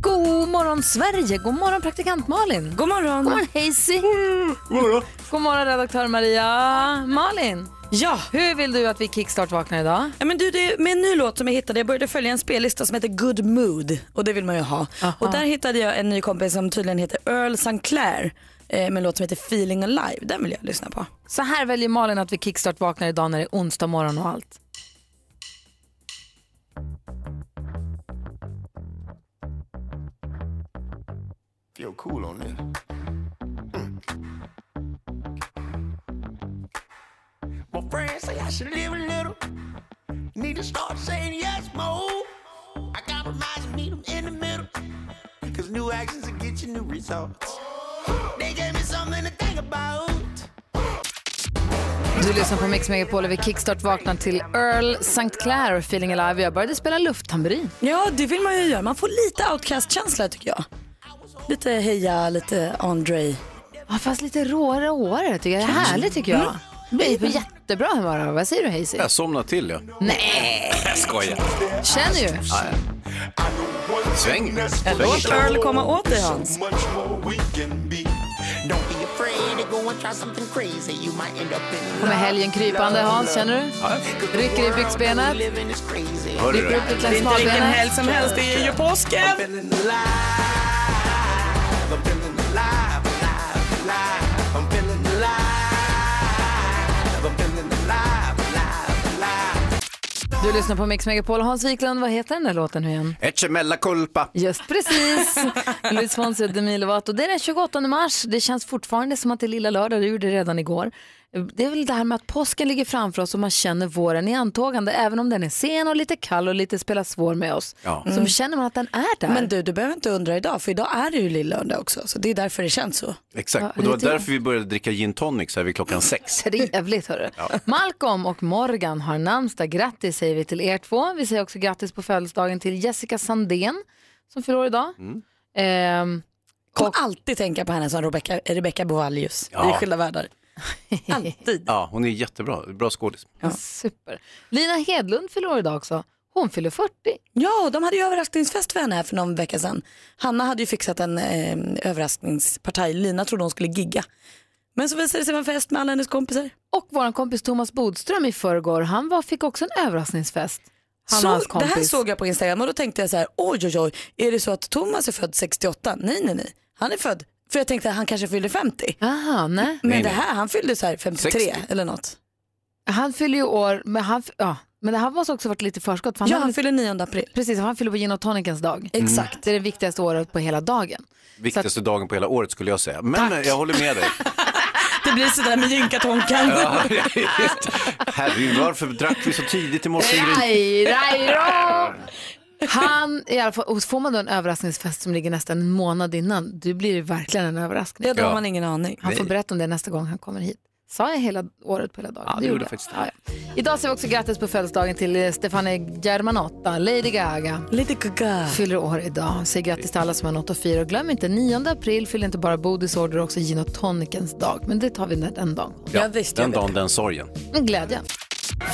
God morgon Sverige, god morgon praktikant Malin. God morgon. God morgon Hazy. Mm, God morgon redaktör Maria. Malin, Ja, hur vill du att vi kickstart-vaknar idag? ja men du, det är med en ny låt som jag hittade. Jag började följa en spellista som heter Good Mood och det vill man ju ha. Och där hittade jag en ny kompis som tydligen heter Earl St. Clair eh, med en låt som heter Feeling Alive. Den vill jag lyssna på. Så här väljer Malin att vi kickstart-vaknar idag när det är onsdag morgon och allt. Feel cool on this. Mm. My friends say I should live a little. Need to start saying yes more. I compromise and meet 'em in the middle. Cause new actions will get you new results. They gave me something to think about. Du lyssnar på Mix Megapol och vi kickstart-vaknar till Earl St. Clair och Feeling Alive. Jag började spela lufttamburin. Ja, det vill man ju göra. Man får lite outcast-känsla tycker jag. Lite heja, lite Andre. Ja, fast lite råare och åare tycker jag. Det är härligt tycker jag. Det blir på jättebra humör av. Vad säger du Hazy? Jag somnar till ja. Nej, Jag skojar. känner ju. Sväng. Låt Earl komma åt dig Hans. Much more we can be. Don't be afraid to go and try something crazy. You might end up in Kommer helgen krypande Hans, känner du? Rycker i byxbenet, living is crazy. Hörde du rycker det? upp lite längs smalbenet. som helst, det är ju påsken. feeling alive. I'm feeling alive, alive, alive. I'm feeling alive. I'm feeling alive, alive, alive. Du lyssnar på Mix Megapol. Hans Wiklund, vad heter den där låten nu igen? Ecce mella culpa. Just precis. Luis Fonsi och Demi Lovato. Det är den 28 mars. Det känns fortfarande som att det är lilla lördag. Det gjorde det redan igår. Det är väl det här med att påsken ligger framför oss och man känner våren i antågande. Även om den är sen och lite kall och lite spelar svår med oss. Ja. Så känner man att den är där. Men du, du behöver inte undra idag för idag är det ju lillördag också. Så det är därför det känns så. Exakt. Och det var därför vi började dricka gin tonic så här vid klockan sex. Trevligt hörru. Malcolm och Morgan har namnsdag. Grattis säger vi till er två. Vi säger också grattis på födelsedagen till Jessica Sandén som fyller år idag. Ehm, Kommer alltid tänka på henne som Rebecca, Rebecca Bovallius Ja. i Skilda världar. Alltid. Ja, hon är jättebra. Bra skådis. Super. Lina Hedlund fyller år idag också. Hon fyller 40. Ja, de hade ju överraskningsfest för henne här för någon vecka sedan. Hanna hade ju fixat en eh, överraskningspartaj. Lina trodde hon skulle gigga. Men så visade det sig vara en fest med alla hennes kompisar. Och vår kompis Thomas Bodström i förrgår, han var, fick också en överraskningsfest. Han så, och hans det kompis. här såg jag på Instagram och då tänkte jag så här, oj oj oj, är det så att Thomas är född 68? Nej nej nej, han är född, för jag tänkte att han kanske fyllde 50. Aha, nej. Men Nej, det nej. här, han fyllde så här 53 60. eller något. Han fyller ju år, men, han, ja, men det här måste också varit lite Mm. förskott. För han Ja, har- han fyllde 9 april. Precis, han fyller på gin och tonicens dag. Exakt. Det är det viktigaste året på hela dagen. Viktigaste dagen på hela året skulle jag säga. Men eh, jag håller med dig. Det blir sådär med gynkatonkan. Ja, just. Herregud, varför drack vi så tidigt i morse? Ingrid? Raj, raj, rå. Han, i alla fall, och får man då en överraskningsfest som ligger nästan en månad innan, du blir det verkligen en överraskning. Ja, då har Ja. man ingen aning. Han får berätta om det nästa gång han kommer hit. Sa jag hela året på hela dagen? Ja, det gjorde faktiskt det. Ja, ja. Idag säger vi också grattis på födelsedagen till eh, Stefania Germanotta, Lady Gaga. Lite gaga. Fyller år idag. Säg grattis till alla som har något att fira. Och glöm inte, 9 april fyller inte bara Bodis år, det är också gin och tonicens dag. Men det tar vi när- den dagen. Ja, visst, jag den vet. dagen, den sorgen. En glädje.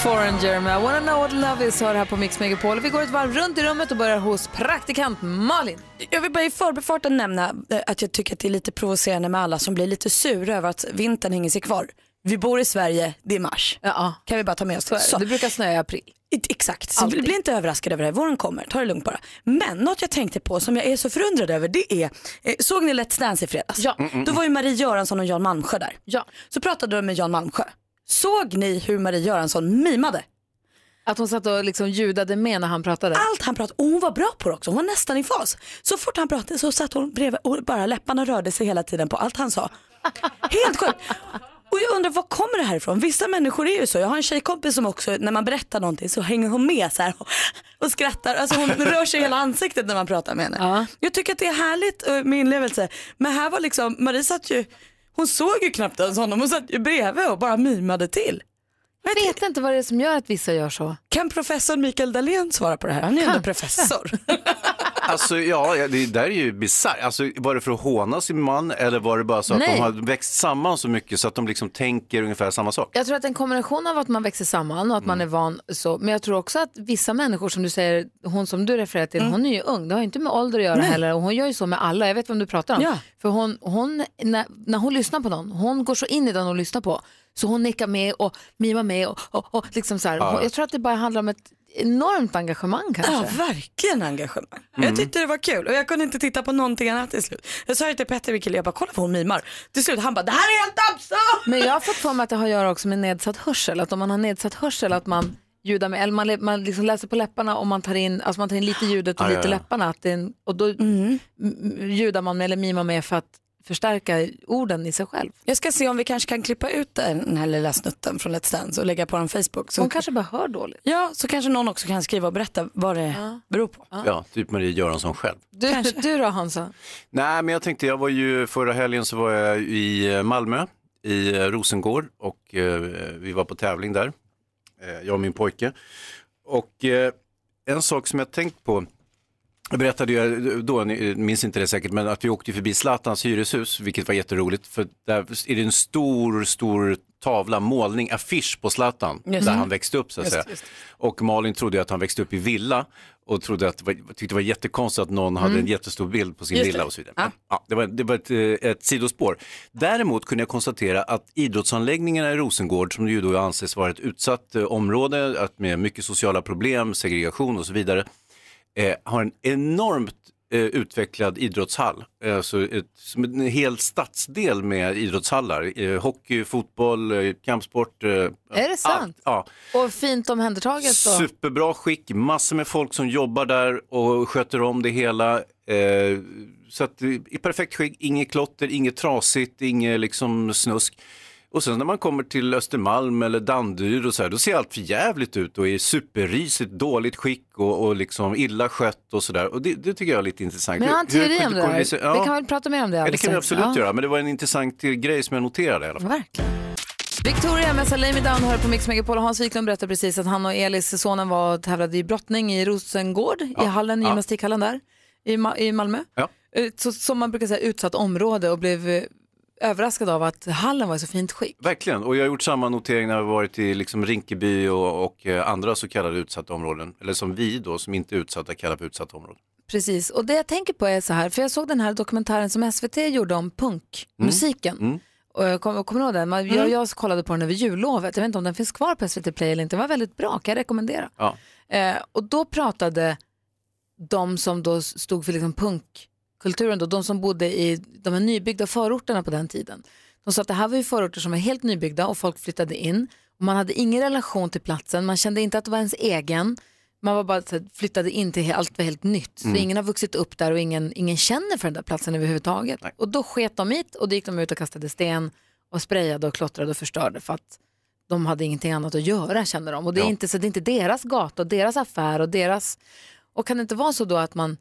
Foreigner med I wanna know what love is hör här på Mix Megapol. Vi går ett varv runt i rummet och börjar hos praktikant Malin. Jag vill bara i förbifarten nämna eh, att jag tycker att det är lite provocerande med alla som blir lite sura över att vintern hänger sig kvar. Vi bor i Sverige, det är mars. Ja, Kan vi bara ta med oss så. det brukar snöa i april. It- Exakt, så Alltid. bli inte överraskad över det här. Våren kommer, ta det lugnt bara. Men något jag tänkte på som jag är så förundrad över det är, eh, såg ni Let's Dance i fredags? Ja. Mm, Då var ju Marie Göransson och Jan Malmsjö där. Ja. Så pratade de med Jan Malmsjö. Såg ni hur Marie Göransson mimade? Att hon satt och liksom ljudade med när han pratade. Allt han pratade, och hon var bra på det också, hon var nästan i fas. Så fort han pratade så satt hon bredvid och bara läpparna rörde sig hela tiden på allt han sa. Helt sjukt. Och jag undrar var kommer det här ifrån? Vissa människor är ju så. Jag har en tjejkompis som också när man berättar någonting så hänger hon med så här och, och skrattar. Alltså hon rör sig i hela ansiktet när man pratar med henne. Jag tycker att det är härligt eh, med inlevelse. Men här var liksom, Marie satt ju, hon Hon såg ju knappt ens honom, hon satt ju bredvid och bara mimade till. Jag vet inte vad det är som gör att vissa gör så. Kan professor Mikael Dahlén svara på det här? Han är ju ändå professor. Alltså ja, ja, det där är ju bisarrt. Alltså, var det för att håna sin man eller var det bara så att Nej. de har växt samman så mycket så att de liksom tänker ungefär samma sak? Jag tror att en kombination av att man växer samman och att Mm. man är van så, men jag tror också att vissa människor som du säger, hon som du refererar till, Mm. hon är ju ung, det har ju inte med ålder att göra heller och hon gör ju så med alla, jag vet vem du pratar om. Ja. För hon, hon när, när hon lyssnar på någon, hon går så in i den hon lyssnar på, så hon nickar med och mimar med och, och, och liksom så här. Ja. Jag tror att det bara handlar om ett enormt engagemang kanske. Ja, verkligen engagemang. Jag tyckte det var kul och jag kunde inte titta på någonting annat till slut. Jag sa ju till Petter, min kille, jag bara kolla vad hon mimar. Till slut han bara, det här är helt absurt! Men jag har fått för mig att det har att göra också med nedsatt hörsel. Att om man har nedsatt hörsel att man ljudar med, eller man, lä- man liksom läser på läpparna och man tar in, alltså man tar in lite ljudet och Ah, ja, lite ja. läpparna. Att det är en, och då mm. ljudar man med eller mimar med för att förstärka orden i sig själv. Jag ska se om vi kanske kan klippa ut den här lilla snutten från Let's Dance och lägga på den Facebook. Så, Hon kanske bara hör dåligt. Ja, så kanske någon också kan skriva och berätta vad det beror på. Ja, typ Marie Göransson själv. Du, du då Hansa? Nej, men jag tänkte, jag var ju förra helgen så var jag i eh, Malmö, i eh, Rosengård och eh, vi var på tävling där, eh, jag och min pojke. Och eh, en sak som jag tänkt på, jag berättade ju då, ni minns inte det säkert, men att vi åkte förbi Zlatans hyreshus, vilket var jätteroligt, för där är det en stor, stor tavla, målning, affisch på Zlatan, där han växte upp så att säga. Och Malin trodde ju att han växte upp i villa och trodde att, det var- tyckte det var jättekonstigt att någon hade en jättestor bild på sin Mm. Just det. villa och så vidare. Men, Ja, det var, det var ett, eh, ett sidospår. Däremot kunde jag konstatera att idrottsanläggningarna i Rosengård, som ju då anses vara ett utsatt eh, område, att med mycket sociala problem, segregation och så vidare, eh, har en enormt eh, utvecklad idrottshall. Eh, så ett, som en hel stadsdel med idrottshallar. Eh, hockey, fotboll, eh, kampsport. Eh, är det sant? ja. Och fint omhändertaget då? Superbra skick, massor med folk som jobbar där och sköter om det hela. Eh, så att, eh, i perfekt skick, inget klotter, inget trasigt, inget liksom snusk. Och sen när man kommer till Östermalm eller Danderyd och så här, då ser allt för jävligt ut och är superrisigt, dåligt skick och, och liksom illa skött och sådär. Och det, det tycker jag är lite intressant. Men jag har en Hur- hur teori om det kunde- där. Ja, Vi kan väl prata mer om det ja, det alldeles kan vi strax. absolut Ja. göra, men det var en intressant eh, grej som jag noterade i alla fall. Verkligen. Victoria med Lay Me Down hör på Mix Megapol och Hans Wiklund berättade precis att han och Elis, sonen, var och tävlade i brottning i Rosengård, i hallen, i ja. gymnastikhallen där i, Ma- i Malmö. Ja. Eh, Så, som man brukar säga, utsatt område och blev eh, överraskad av att hallen var i så fint skick. Verkligen, och jag har gjort samma notering när vi varit i liksom Rinkeby och, och eh, andra så kallade utsatta områden. Eller som vi då, som inte är utsatta, kallar för utsatta områden. Precis, och det jag tänker på är så här, för jag såg den här dokumentären som SVT gjorde om punkmusiken. Och jag kommer kommer du ihåg den? Man, jag, jag kollade på den över jullovet, jag vet inte om den finns kvar på SVT Play eller inte, den var väldigt bra, kan jag rekommendera. Ja. Eh, och då pratade de som då stod för liksom punkkulturen, då, de som bodde i de här nybyggda förorterna på den tiden. De sa att det här var ju förorter som var helt nybyggda och folk flyttade in. Och man hade ingen relation till platsen, man kände inte att det var ens egen. Man var bara så här, flyttade in till he- allt var helt nytt. Så ingen har vuxit upp där och ingen, ingen känner för den där platsen överhuvudtaget. Och då sket de hit och då gick de ut och kastade sten och sprayade och klottrade och förstörde för att de hade ingenting annat att göra kände de. Och det är, Ja. inte, så det är inte deras gata och deras affär och deras... Och kan det inte vara så då att man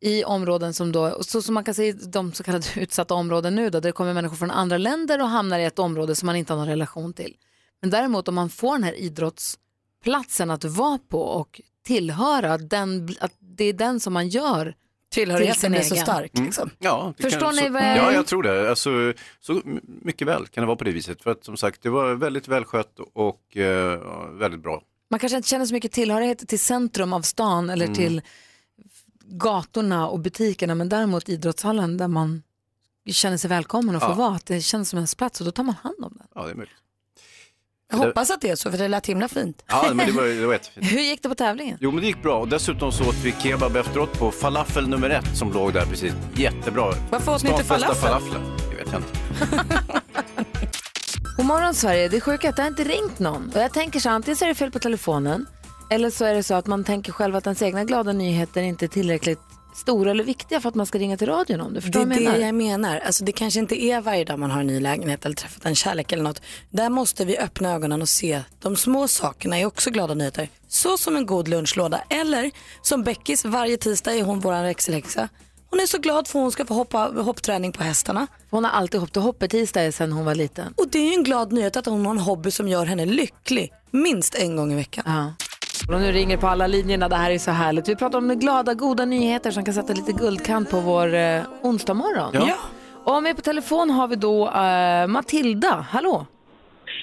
i områden som då, och så som man kan se i de så kallade utsatta områden nu då, där det kommer människor från andra länder och hamnar i ett område som man inte har någon relation till. Men däremot om man får den här idrottsplatsen att vara på och tillhöra, den, att det är den som man gör. Till sin Tillhörigheten är så egen. stark. Liksom. Ja, det Förstår ni så, vad jag- Ja, jag tror det. Alltså, så m- mycket väl kan det vara på det viset. För att som sagt, det var väldigt välskött och eh, väldigt bra. Man kanske inte känner så mycket tillhörighet till centrum av stan eller till gatorna och butikerna, men däremot idrottshallen där man känner sig välkommen och får Ja. vara, att det känns som ens plats och då tar man hand om den. Ja, det är möjligt. Jag hoppas att det är så för det lät himla fint. Ja, men det var, det var jättefint. Hur gick det på tävlingen? Jo, men det gick bra. Och dessutom så åt vi kebab efteråt på falafel nummer ett som låg där precis. Jättebra. Varför åt ni inte Stans bästa falafel? falafel? Det vet jag inte. God morgon Sverige, det är sjukt att det har inte ringt någon. Och jag tänker så här, antingen så är det fel på telefonen eller så är det så att man tänker själv att ens egna glada nyheter inte är tillräckligt stora eller viktiga för att man ska ringa till radion om det. Det Förstår är du vad jag det menar? jag menar. Alltså, det kanske inte är varje dag man har en ny lägenhet eller träffat en kärlek eller något. Där måste vi öppna ögonen och se. De små sakerna är också glada nyheter. Så som en god lunchlåda eller som Beckis varje tisdag är hon vår växelhäxa. Hon är så glad för hon ska få hoppa, hoppträning på hästarna. Hon har alltid hoppat och hoppat tisdag sedan hon var liten. Och det är ju en glad nyhet att hon har en hobby som gör henne lycklig minst en gång i veckan. Ja. Och nu ringer på alla linjerna, det här är så härligt. Vi pratar om glada, goda nyheter som kan sätta lite guldkant på vår eh, onsdag morgon. Ja. Och med på telefon har vi då eh, Matilda, hallå?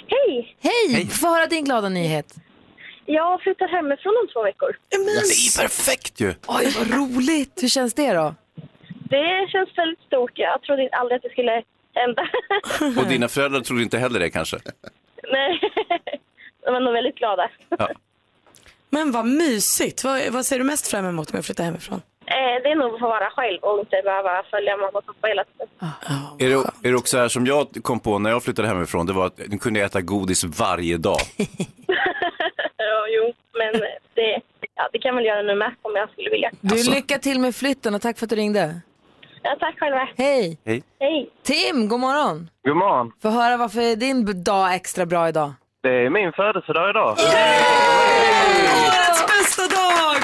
Hej! Hej! Få höra din glada nyhet. Jag flyttar hemifrån om två veckor. Det är perfekt ju. Oj, vad roligt! Hur känns det då? Det känns väldigt stort. Jag trodde inte- aldrig att det skulle hända. Och dina föräldrar trodde inte heller det kanske? Nej, de är nog väldigt glada. Men vad mysigt. Vad, vad ser du mest fram emot med att flytta hemifrån? Eh, Det är nog att få vara själv och inte behöva följa mamma och pappa hela tiden. Är det, är det också här som jag kom på när jag flyttade hemifrån? Det var att nu kunde jag äta godis varje dag. Ja, jo, men det, ja, det kan väl göra nu med om jag skulle vilja. Du, lycka till med flytten och tack för att du ringde. Ja, tack själva. Hej! Hej! Tim, god morgon! God morgon. Få höra varför är din b- dag extra bra idag? Det är min födelsedag idag. Årets bästa dag!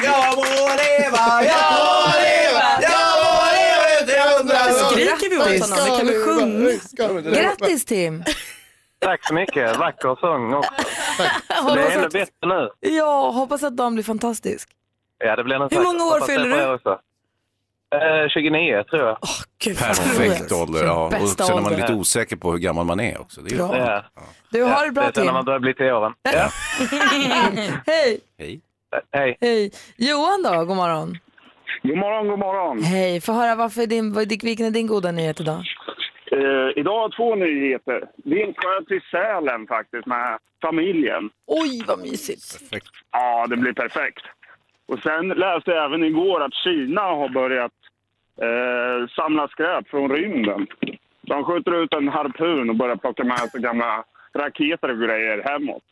Skriker vi åt honom? Det kan vi sjunga. Grattis Tim! Tack så mycket. Vacker sång också. Det är Hoppas ännu att, bättre nu. ja, hoppas att dagen blir fantastisk. Ja, det blir den Hur säkert. många år Hoppas det fyller på du? er också. Eh, 29 tror jag. Åh, Gud, vad roligt. Perfekt ålder, ja. Och Bästa sen är man ålder. lite osäker på hur gammal man är också. Det är ju... Bra. Ja. Du har det det bra är sen när Tim. man börjar bli till åren. Ja. Hej! Hej. Eh, Hej. Hej! Johan då, god morgon. God morgon, god morgon. Hej, få höra varför är din, vad- vilken är din goda nyhet idag? Eh, idag två nyheter. Vi ska till Sälen faktiskt med familjen. Oj, vad mysigt. Ja, det blir perfekt. Och sen läste jag även igår att Kina har börjat eh, samla skräp från rymden. De skjuter ut en harpun och börjar plocka med sig gamla raketer och grejer hemåt.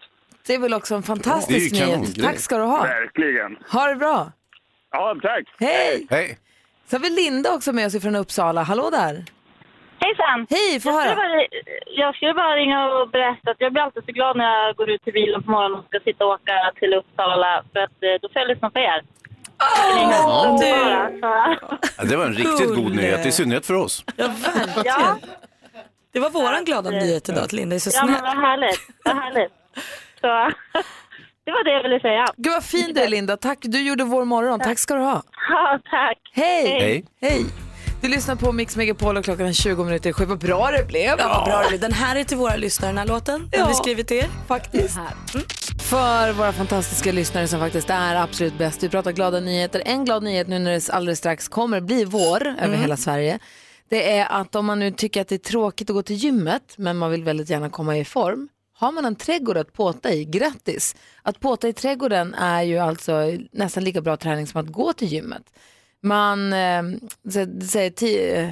Det är väl också en Det är ju fantastisk kanon, nyhet. grej. Tack ska du ha. Verkligen. Ha det bra. Ja, tack. Hej! Hej. Så har vi Linda också med oss från Uppsala. Hallå där! Hejsan! Hej, få Jag skulle, höra. bara, jag skulle bara ringa och berätta att jag blir alltid så glad när jag går ut till bilen på morgonen och ska sitta och åka till Uppsala för att eh, då får jag lyssna på er. Oh, Ja, Det var en riktigt god Gulle. nyhet, i synnerhet för oss. Ja, verkligen. Ja, Det var våran glada nyhet idag att Linda är så ja men snäll. vad härligt. Vad härligt. Så, det var det jag ville säga. Gud vad fin du är Linda. Tack, du gjorde vår morgon. Tack ska du ha. Ja, tack. Hej! Hej. Hej! Du lyssnar på Mix Megapol och klockan är 20 minuter i sju. Vad bra det blev! Ja, vad bra det blir. Den här är till våra lyssnare, den här låten. Den Ja. har vi skrivit till er. faktiskt. För våra fantastiska lyssnare som faktiskt är absolut bäst. Vi pratar glada nyheter. En glad nyhet nu när det alldeles strax kommer bli vår över hela Sverige. Det är att om man nu tycker att det är tråkigt att gå till gymmet men man vill väldigt gärna komma i form. Har man en trädgård att påta i, grattis! Att påta i trädgården är ju alltså nästan lika bra träning som att gå till gymmet. Man eh, sä- säger ti- eh,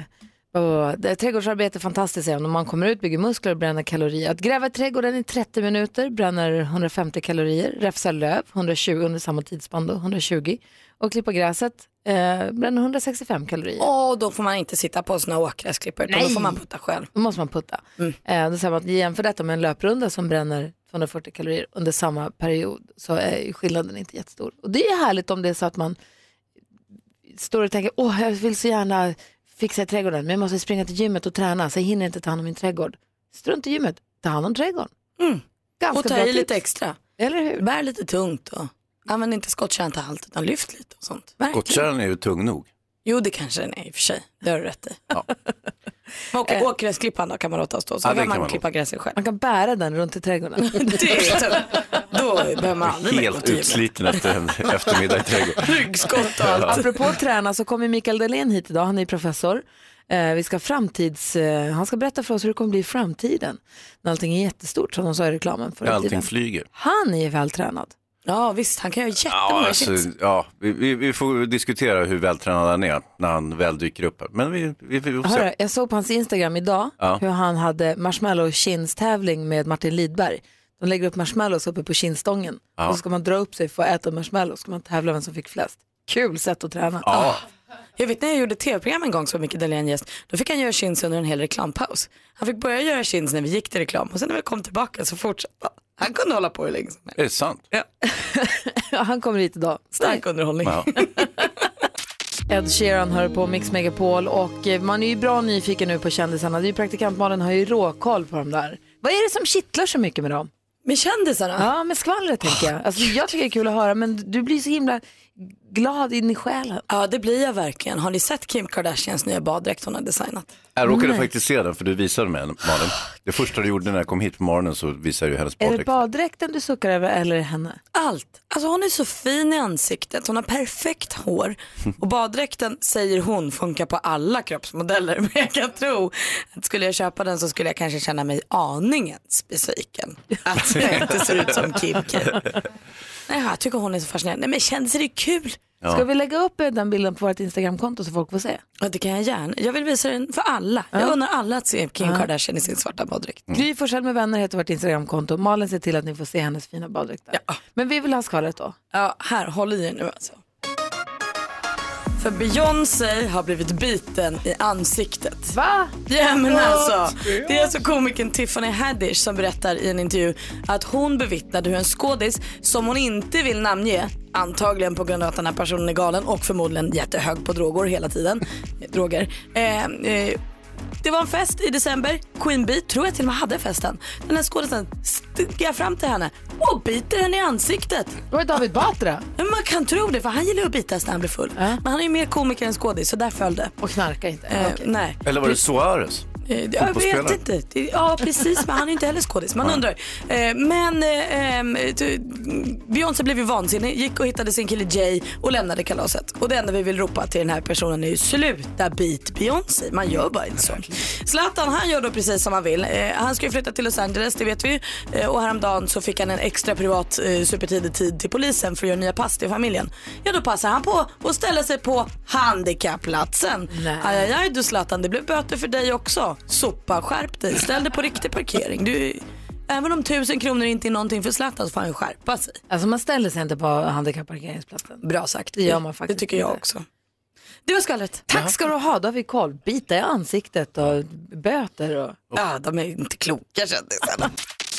vad var det? det är trädgårdsarbete är fantastiskt säger de. man kommer ut, bygger muskler och bränner kalorier. Att gräva i trädgården i 30 minuter bränner 150 kalorier, räfsa löv 120 under samma tidsspann då, 120 och klippa gräset eh, bränner 165 kalorier. Och då får man inte sitta på såna åkgräsklippor utan då Nej. får man putta själv. Då måste man putta. Mm. Eh, då säger man att jämför detta med en löprunda som bränner 240 kalorier under samma period så är ju skillnaden inte jättestor. Och det är ju härligt om det är så att man står och tänker, åh jag vill så gärna fixa trädgården men jag måste springa till gymmet och träna så jag hinner inte ta hand om min trädgård. Strunt i gymmet, ta hand om trädgården. Ganska Mm. Och ta bra i lite tips. extra. Eller hur? Bär lite tungt och använd inte skottkärran till allt utan lyft lite och sånt. Skottkärran är ju tung nog. Jo det kanske den är i och för sig. Det har du rätt i. Ja. Men åk- Åkgräsklippan då kan man låta stå så Ja, kan den man, kan man klippa gräset själv. Man kan bära den runt i trädgården. Det, då behöver man aldrig mer gå Helt till gymmet. utsliten efter en eftermiddag i trädgården. Ryggskott och allt. Apropå att träna så kommer Mikael Dahlén hit idag, han är professor. Eh, vi ska framtids, eh, han ska berätta för oss hur det kommer bli i framtiden. När allting är jättestort som de sa i reklamen förr i Allting tiden. flyger. Han är vältränad. Ja visst, han kan göra jättemånga Ja, alltså, hits. ja, vi, vi, vi får diskutera hur vältränad han är när han väl dyker upp. här. Men vi, vi, vi får se. Hörru, jag såg på hans Instagram idag Ja. hur han hade marshmallow tävling med Martin Lidberg. De lägger upp marshmallows uppe på kindstången Ja. och så ska man dra upp sig för att äta marshmallows. Ska man tävla vem som fick flest. Kul sätt att träna. Ja, Jag vet när jag gjorde tv-program en gång som Micke Dahlén gäst, då fick han göra chins under en hel reklampaus. Han fick börja göra chins när vi gick till reklam och sen när vi kom tillbaka så fortsatte han. Han kunde hålla på hur länge som helst. är det sant? han kommer hit idag. Stark underhållning. Ja. Ed Sheeran hör på Mix Megapol och eh, man är ju bra nyfiken nu på kändisarna. Det är ju praktikant Malin har ju råkoll på dem där. Vad är det som kittlar så mycket med dem? Med kändisarna? Ja, med skvallret tänker jag. Alltså, jag tycker det är kul att höra men du blir så himla glad in i själen. Ja, det blir jag verkligen. Har ni sett Kim Kardashians nya baddräkt hon har designat? Jag råkade Nej. faktiskt se den för du visade mig den, Malin. Det första du gjorde när jag kom hit på morgonen så visade jag ju hennes Är det baddräkt. baddräkten du suckar över eller är det henne? Allt. Alltså hon är så fin i ansiktet, hon har perfekt hår och baddräkten säger hon funkar på alla kroppsmodeller. Men jag kan tro att skulle jag köpa den så skulle jag kanske känna mig aningens besviken. Att jag inte ser ut som Kim K. Nej, jag tycker hon är så fascinerande. Nej men kändisar är kul. Ja. Ska vi lägga upp eh, den bilden på vårt Instagramkonto så folk får se? Ja, det kan jag gärna. Jag vill visa den för alla. Jag Ja. undrar alla att se Kim Ja. Kardashian i sin svarta baddräkt. Gry Forssell med vänner heter vårt Instagramkonto. Malin ser till att ni får se hennes fina baddräkt där. Men vi vill ha skvallret då. Ja, här, håll i er nu alltså. För Beyoncé har blivit biten i ansiktet. Va? Ja men alltså. Det är alltså komikern Tiffany Haddish som berättar i en intervju att hon bevittnade hur en skådis som hon inte vill namnge, antagligen på grund av att den här personen är galen och förmodligen jättehög på droger hela tiden, droger, eh, eh, det var en fest i december, Queen Bee, tror jag till och med hade festen. Den här skådisen sticker fram till henne och biter henne i ansiktet. Det var David Batra. Men man kan tro det för han gillar ju att bitas när han blir full. Men han är ju mer komiker än skådis så där föll det. Och knarkar inte? Eh, Nej. Eller var det Suarez? Eh, Jag vet Fotbollsspelaren? inte. Det- Ja, precis. Men han är ju inte heller skådis. Man Nej. undrar. Eh, Men eh, ehm, t- Beyoncé blev ju vansinnig, gick och hittade sin kille Jay och lämnade kalaset. Och det enda vi vill ropa till den här personen är ju sluta bit Beyoncé. Man gör bara inte så. Zlatan han gör då precis som han vill. Eh, Han ska ju flytta till Los Angeles, det vet vi ju. Eh, Och häromdagen så fick han en extra privat eh, supertidig tid till polisen för att göra nya pass till familjen. Ja, då passar han på att ställa sig på handikappplatsen. Nej. Aj, aj, aj du Zlatan, det blev böter för dig också. Sopa, skärp dig. Ställ dig på riktig parkering. Du, även om tusen kronor inte är någonting för Zlatan så får han ju skärpa sig. Alltså man ställer sig inte på handikapparkeringsplatsen. Bra sagt. Det gör man faktiskt Det tycker jag inte. också. Det var skvallret. Tack ska du ha, då har vi koll. Bita i ansiktet och böter och... Ja, de är inte kloka kändisarna.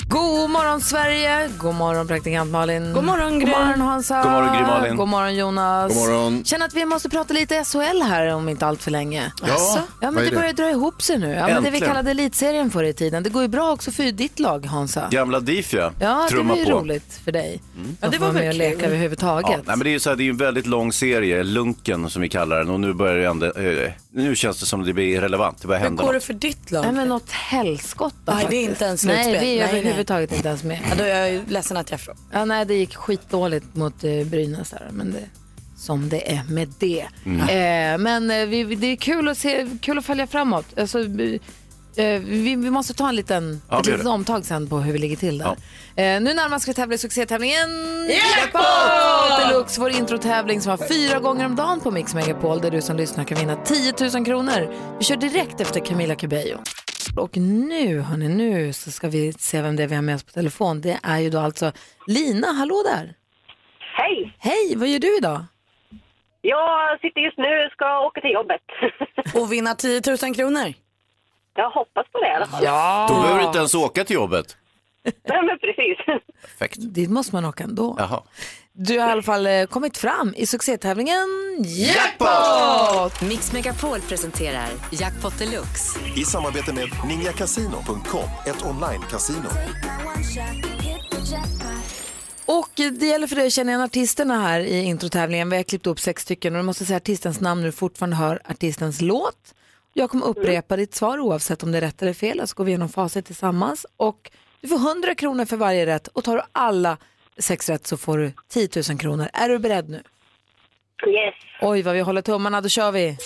God morgon Sverige, god morgon praktikant Malin. God morgon God morgon Hansa. God morgon, Gry Malin. God morgon Jonas. God morgon. Känner att vi måste prata lite SHL här om inte allt för länge. Ja, Asså? ja vad men är det det? börjar dra ihop sig nu. Ja, men det vi Äntligen. kallade elitserien förr i tiden. Det går ju bra också för ditt lag Hansa. Gamla DIF ja. Ja, det Trumma var ju på. roligt för dig. Mm. Ja, det var med och leka överhuvudtaget. Ja, nej, men det är ju så här, det är ju en väldigt lång serie, Lunken som vi kallar den och nu börjar det ändå, eh, nu känns det som det blir irrelevant, det börjar hända något. för ditt lag? Nej, men något helskott då, Nej, det är faktiskt. inte ens slutspel. Nej, vi är Nej, nej. överhuvudtaget inte ens med. Ja, då är jag ju ledsen att jag frågar. Ja, nej, det gick skitdåligt mot eh, Brynäs där, men det, som det är med det. Mm. Eh, men eh, vi, vi- det är kul att, se, kul att följa framåt. Alltså, eh, vi, vi måste ta en liten, Ja, ett vi gör litet det. omtag sen på hur vi ligger till där. Eh, nu närmar sig vi tävla i succétävlingen Jackpot! Deluxe, vår introtävling som har fyra gånger om dagen på Mix Megapol där du som lyssnar kan vinna 10 000 kronor. Vi kör direkt efter Camila Cabello. Och nu, hörni, nu så ska vi se vem det är vi har med oss på telefon. Det är ju då alltså Lina, hallå där! Hej! Hej, vad gör du idag? Jag sitter just nu och ska åka till jobbet. Och vinna 10 000 kronor? Jag hoppas på det i alla fall. Ja! Då behöver du inte ens åka till jobbet. Nej, men precis. Perfekt. Dit måste man åka ändå. Jaha. Du har i alla fall eh, kommit fram i succétävlingen Jackpot! Mix Megapol presenterar Jackpot Deluxe. I samarbete med ninjakasino.com, ett online-casino. Och eh, det gäller för dig att känna igen artisterna här i introtävlingen. Vi har klippt upp sex stycken och du måste säga artistens namn när du fortfarande hör artistens låt. Jag kommer upprepa ditt svar oavsett om det är rätt eller fel. Så går vi igenom facit tillsammans. Och du får 100 kronor för varje rätt och tar du alla sex rätt så får du 10 000 kronor. Är du beredd nu? Yes. Oj, vad vi håller tummarna. Då kör vi.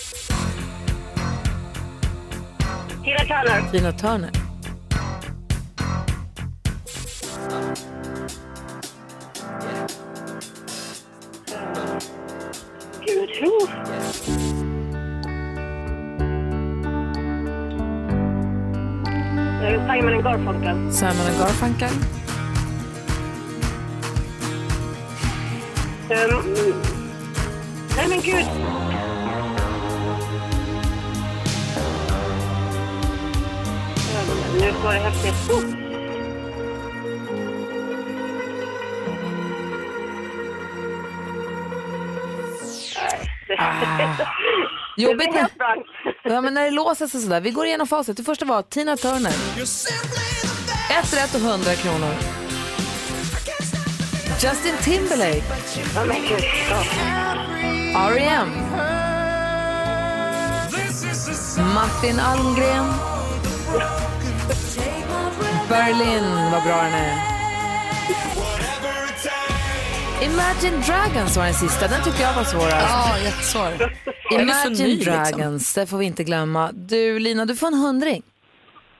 Tina Turner. Tina Turner. Gud, oh. Eh, Simon and Garfunkel. Simon and Garfunkel. Um, mm. nej, men gud. Um, nu var det häftigt. Oh. Nej. Ah. er Jobbigt när, ja, men när det låser sig sådär. Vi går igenom facit. Det första var Tina Turner. Ett rätt och 100 kronor. Justin Timberlake. E R.E.M. Martin Almgren. Berlin, vad bra den är. Imagine Dragons var den sista. Den tyckte jag var svårast. Ja, jättesvår. Den är så Imagine ny, liksom. Dragons, det får vi inte glömma. Du Lina, du får en hundring.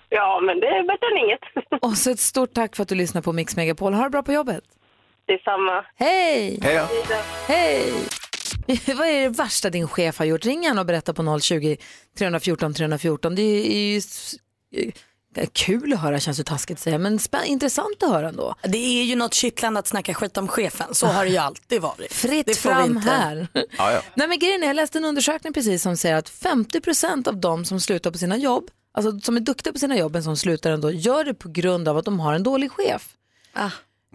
Ja, men det är bättre än inget. Och så ett stort tack för att du lyssnar på Mix Megapol. Ha det bra på jobbet. Detsamma. Hej! Hej då. Hej! Vad är det värsta din chef har gjort? Ring gärna och berätta på 020 314 314. Det är ju s- eh, kul att höra, känns ju taskigt att säga, men spä- intressant att höra ändå. Det är ju något kittlande att snacka skit om chefen. Så har det ju alltid varit. Fritt det får vi fram inte- här. Nej men grejen är, jag läste en undersökning precis som säger att 50% av de som slutar på sina jobb, alltså som är duktiga på sina jobb men som slutar ändå, gör det på grund av att de har en dålig chef.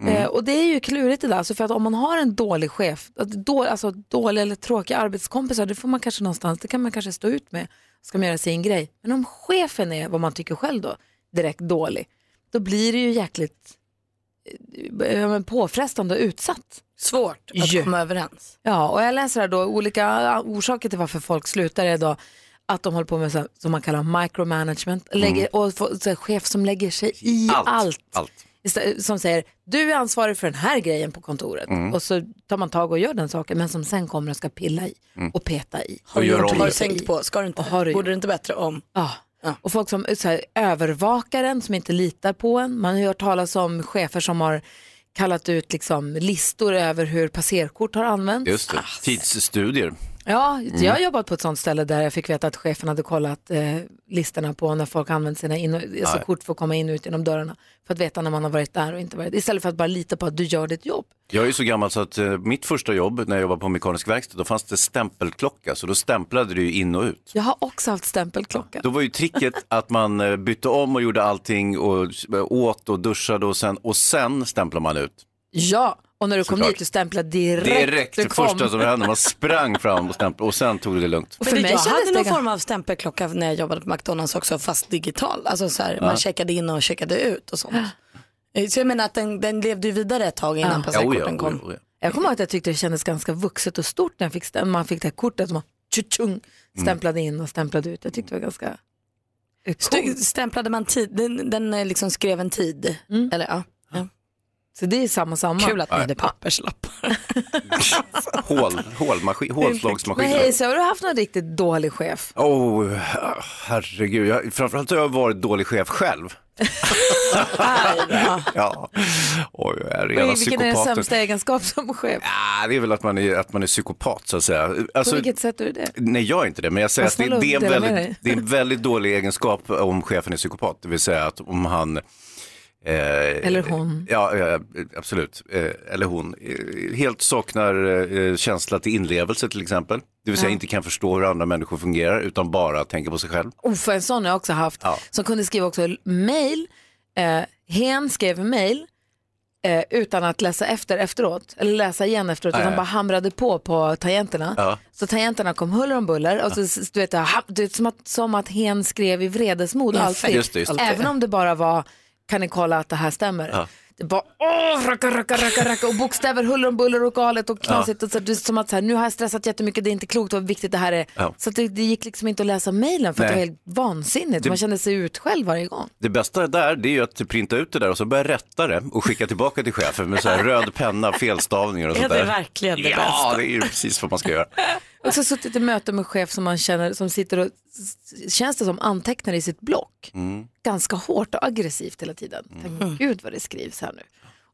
Mm. Eh, och det är ju klurigt det där, alltså för att om man har en dålig chef, att då, alltså dåliga eller tråkiga arbetskompisar, det får man kanske någonstans, det kan man kanske stå ut med, ska man göra sin grej. Men om chefen är vad man tycker själv då, direkt dålig, då blir det ju jäkligt eh, ja, men påfrestande och utsatt. Svårt att Ju. komma överens. Ja, och jag läser här då, olika orsaker till varför folk slutar är då att de håller på med så här, som man kallar micromanagement, lägger, och får, så här, chef som lägger sig i allt. Allt. Istä- Som säger, du är ansvarig för den här grejen på kontoret. Mm. Och så tar man tag och gör den saken, men som sen kommer och ska pilla i Mm. och peta i. Och gör om Har det. du tänkt på, ska du inte, har du borde du inte bättre om? Ja. Och folk som så här, övervakar en, som inte litar på en. Man har ju hört talas om chefer som har kallat ut liksom, listor över hur passerkort har använts. Just det, tidsstudier. Ja, Mm. jag har jobbat på ett sånt ställe där jag fick veta att chefen hade kollat eh, listorna på när folk använt sina in och, alltså Nej. kort för att komma in och ut genom dörrarna. För att veta när man har varit där och inte varit Istället för att bara lita på att du gör ditt jobb. Jag är så gammal så att eh, mitt första jobb när jag jobbade på mekanisk verkstad, då fanns det stämpelklocka, så då stämplade du ju in och ut. Jag har också haft stämpelklocka. Då var ju tricket att man eh, bytte om och gjorde allting och eh, åt och duschade och sen, och sen stämplade man ut. Ja, och när du kom Såklart. dit du stämplade direkt. Direkt, du det kom. första som hände, man sprang fram och stämplade och sen tog det lugnt. Men jag hade någon det form av stämpelklocka när jag jobbade på McDonalds också, fast digital. Alltså så här, Ja. man checkade in och checkade ut och sånt. Eh, Så jag menar att den, den levde ju vidare ett tag innan Ja. passerkorten kom. Jag kommer ihåg att jag tyckte det kändes ganska vuxet och stort när jag fick stäm- man fick det här kortet som man Mm. tjutjung, stämplade in och stämplade ut. Jag tyckte det var ganska... St- stämplade man tid, den, den eh, liksom skrev en tid. Eller, ja. Ja. Så det är samma samma. Kul att ni Ja. hade papperslappar. Alltså. Hål, hålmaskin, Men hålslagsmaskiner. hej, så har du haft någon riktigt dålig chef? Oh, herregud, jag, framförallt har jag varit dålig chef själv. ja, oj, jag är rena Vil- Vilken är den psykopaten. sämsta egenskap som chef? Ah, det är väl att man är, att man är psykopat så att säga. Alltså, På vilket sätt är du det? Nej, jag är inte det, men jag säger Vad att det, snäll att det, är en dela med väldigt, dig. det är en väldigt dålig egenskap om chefen är psykopat, det vill säga att om han... eh, Eller hon. Ja, ja, absolut. Eh, eller hon. Eh, helt saknar eh, känsla till inlevelse till exempel. Det vill säga Ja. inte kan förstå hur andra människor fungerar utan bara tänker på sig själv. Oh, för en sån har jag också haft. Ja. Som kunde skriva också mail. Eh, hen skrev mail eh, utan att läsa efter efteråt. Eller läsa igen efteråt. Nej. Utan bara hamrade på på tangenterna. Ja. Så tangenterna kom huller om buller. Och så, s- du vet, jag, ha- du vet, som, att, som att hen skrev i vredesmod. Ja, alltid. just det, just det. Även om det bara var, kan ni kolla att det här stämmer? Ja. Det bara åh, racka, racka, racka, racka och bokstäver, huller om buller och galet och knasigt. Och så, det är som att så här, nu har jag stressat jättemycket, det är inte klokt vad viktigt det här är. Ja. Så att det, det gick liksom inte att läsa mejlen för att det Nej. var helt vansinnigt. Det- Man kände sig ut själv varje gång. Det bästa där det är ju att printa ut det där och så börja rätta det och skicka tillbaka till chefen med så här röd penna, felstavningar och Är sånt det där. verkligen det ja, bästa? det är ju precis vad man ska göra. Och så suttit i möte med chef som man känner som sitter och s- känns det som antecknar i sitt block Mm. ganska hårt och aggressivt hela tiden. Tänk, Gud vad det skrivs här nu.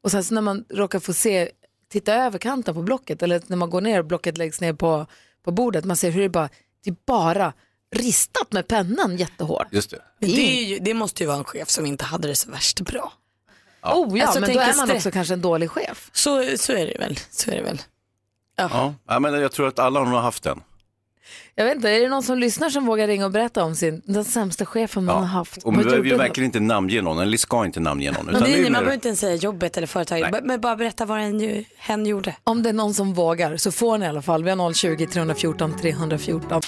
Och sen så när man råkar få se, titta över kanten på blocket eller när man går ner och blocket läggs ner på, på bordet, man ser hur det bara, det är bara ristat med pennan jättehårt. Just det. Men det, är ju, det måste ju vara en chef som inte hade det så värst bra. Oh ja, Alltså, men tänk då är en man stress- också kanske en dålig chef. Så, så är det väl. Så är det väl. Ja. Ja, men jag tror att alla har nog haft den. Jag vet inte, är det någon som lyssnar som vågar ringa och berätta om sin, den sämsta chefen man har haft? Och vi vill verkligen inte namnge någon, eller ska inte namnge någon. Men det är, nu ingen- man är det- behöver inte ens säga jobbet eller företaget. Nej. B- Men bara berätta vad den ju, hen gjorde. Om det är någon som vågar så får ni i alla fall. Vi har 020 314 314.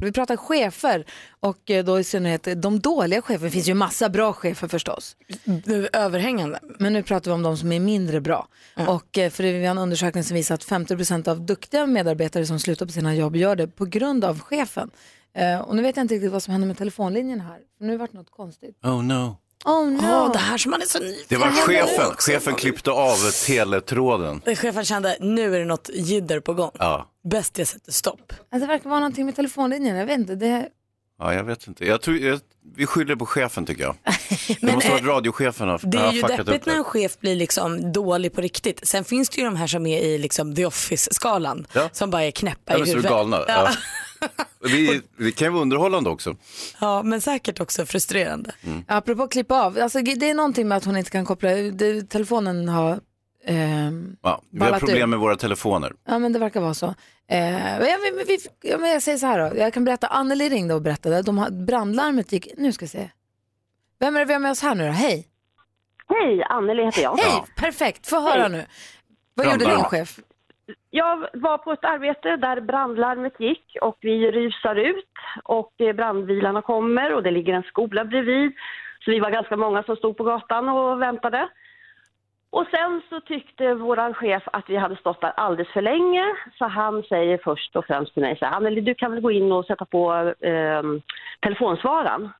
Vi pratar chefer och eh, då i synnerhet de dåliga cheferna. Det finns ju massa bra chefer förstås. Nu överhängande. Men nu pratar vi om de som är mindre bra. Och eh, för det vi har en undersökning som visar att 50% av duktiga medarbetare som slutar på sina jobb gör det på grund av chefen. Eh, Och nu vet jag inte riktigt vad som händer med telefonlinjen här. För nu har det varit något konstigt. Oh no. Oh no. Åh, det här som man är så ny Det var chefen. Chefen klippte av teletråden. Det Chefen kände, nu är det något jidder på gång. Ja. Bäst jag sätter stopp. Alltså, det verkar vara någonting med telefonlinjen. Jag vet inte. Det... ja, jag vet inte. Jag tror, jag, vi skyller på chefen tycker jag. det måste vara radiochefen har, eh, Det är har ju fuckat upp deppigt när det. en chef blir liksom dålig på riktigt. Sen finns det ju de här som är i liksom the office-skalan. Som bara är knäppa Ja, i men så är huvudet. vi galna. Ja. Ja. Vi, det kan ju vara underhållande också. ja, men säkert också frustrerande. Mm. Apropå klippa av, alltså, det är någonting med att hon inte kan koppla, det, telefonen har... ehm, Ja, vi har Ballat ur. problem med våra telefoner. Ja men det verkar vara så. Eh, men jag, men, vi, ja, men jag säger så här då, jag kan berätta, Anneli ringde och berättade, de har, brandlarmet gick, nu ska vi se. Vem är det vi har med oss här nu då? Hej! Hej, Anneli heter jag. Hej, perfekt, få höra Hej. nu. Vad gjorde din Brandlarm. chef? Jag var på ett arbete där brandlarmet gick och vi rusar ut och eh, brandbilarna kommer och det ligger en skola bredvid. Så vi var ganska många som stod på gatan och väntade. Och sen så tyckte våran chef att vi hade stått där alldeles för länge så han säger först och främst till mig så här, Anneli du kan väl gå in och sätta på eh, telefonsvararen.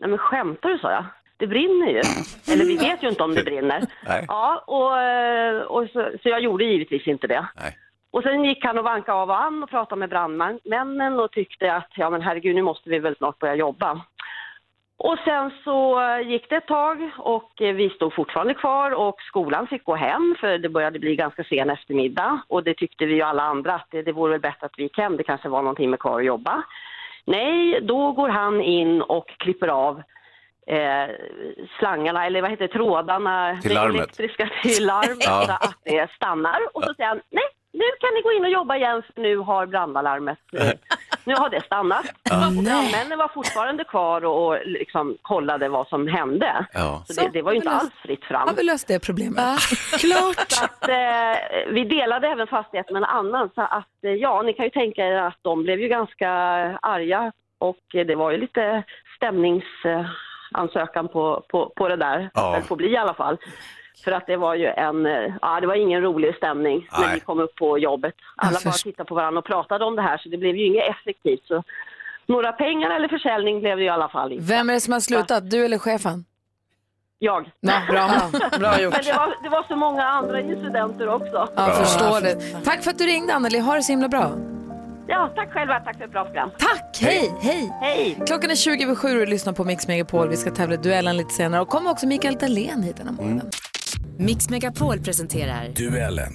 Nej men skämtar du sa jag. Det brinner ju. Eller vi vet ju inte om det brinner. Nej. Ja, och, eh, och så, så jag gjorde givetvis inte det. Och sen gick han och vankade av och an och pratade med brandmännen och tyckte att ja men herregud nu måste vi väl snart börja jobba. Och sen så eh, gick det ett tag och eh, vi stod fortfarande kvar och skolan fick gå hem för det började bli ganska sen eftermiddag och det tyckte vi ju alla andra att det, det vore väl bättre att vi gick hem, det kanske var någon timme kvar att jobba. Nej, då går han in och klipper av eh, slangarna, eller vad heter det, trådarna, Till det larmet. elektriska till larmet Ja. så att det stannar och så säger han nej, nu kan ni gå in och jobba igen för nu har brandalarmet, eh, nu har det stannat. Och brandmännen var fortfarande kvar och, och liksom kollade vad som hände. Ja. Så det, det var ju inte alls fritt fram. Har vi löst det problemet? klart! Så att, eh, vi delade även fastighet med en annan så att eh, ja, ni kan ju tänka er att de blev ju ganska arga och eh, det var ju lite stämningsansökan på, på, på det där, Ja. ja. på bli i alla fall. För att det var ju en, eh, ja det var ingen rolig stämning när Nej. vi kom upp på jobbet. Alla bara tittade på varandra och pratade om det här så det blev ju inget effektivt. Så några pengar eller försäljning blev det ju i alla fall inte. Vem är det som har slutat, du eller chefen? Jag. Ja, bra. Bra gjort. Men det var, det var så många andra incidenter också. Ja, förstår det. Tack för att du ringde Anneli, ha det så himla bra. Ja, tack själva. Tack för ett bra program. Tack, hej, hej. Klockan är 20 över 7 och du lyssnar på Mix Megapol. Vi ska tävla i duellen lite senare och kommer också Mikael Dahlén hit den här morgonen. Mix Megapol presenterar Duellen.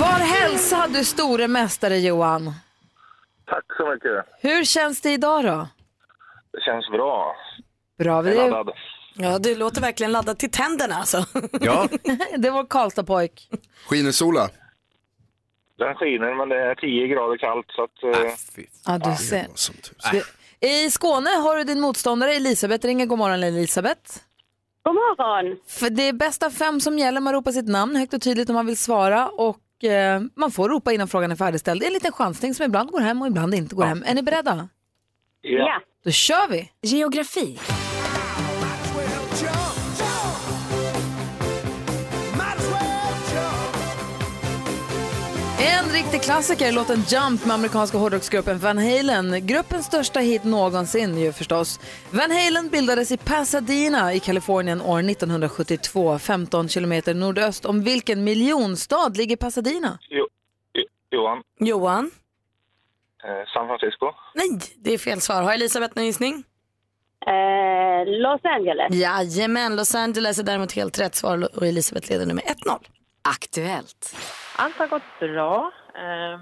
Var hälsa du store mästare Johan. Tack så mycket. Hur känns det idag då? Det känns bra. Bra, vi Jag är är... laddad. Ja, du låter verkligen laddad till tänderna alltså. Ja. det är vår Karlstadpojk. Skiner sola? Den skiner men det är 10 grader kallt så att... eh, Ja, du ser. Du- I Skåne har du din motståndare Elisabeth ringer. God morgon Elisabeth. God morgon. För det är bästa fem som gäller. Man ropar sitt namn högt och tydligt om man vill svara. Och eh, man får ropa innan frågan är färdigställd. Det är en liten chansning som ibland går hem och ibland inte går hem. Är ni beredda? Ja. Då kör vi! Geografi. En riktig klassiker, låten Jump med amerikanska hårdrocksgruppen Van Halen. Gruppens största hit någonsin ju förstås. Van Halen bildades i Pasadena i Kalifornien år 1972, 15 kilometer nordöst om vilken miljonstad ligger Pasadena? Jo, Jo- Johan, Johan? eh, San Francisco. Nej, det är fel svar. Har Elisabeth någon gissning? Eh, Los Angeles. Jajamän, Los Angeles är däremot helt rätt svar och Elisabeth leder nu med 1-0. Aktuellt. Allt har gått bra. Eh,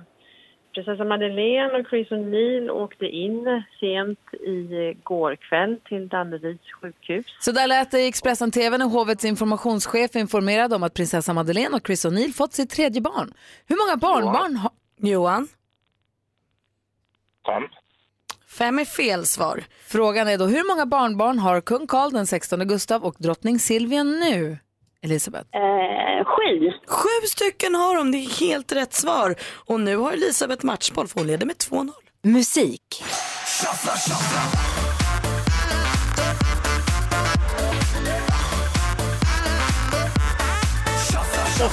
Prinsessa Madeleine och Chris O'Neill åkte in sent i går kväll till Danderyds sjukhus. Så där lät det i Expressen-TV när hovets informationschef informerade om att prinsessa Madeleine och Chris O'Neill fått sitt tredje barn. Hur många barnbarn har... Johan? Fem. Fem är fel svar. Frågan är då hur många barnbarn har kung Carl den 16 Gustav och drottning Silvia nu? Elisabeth? Eh. sju. Sju stycken har de, det är helt rätt svar. Och nu har Elisabeth matchboll för hon leder med 2-0. Musik.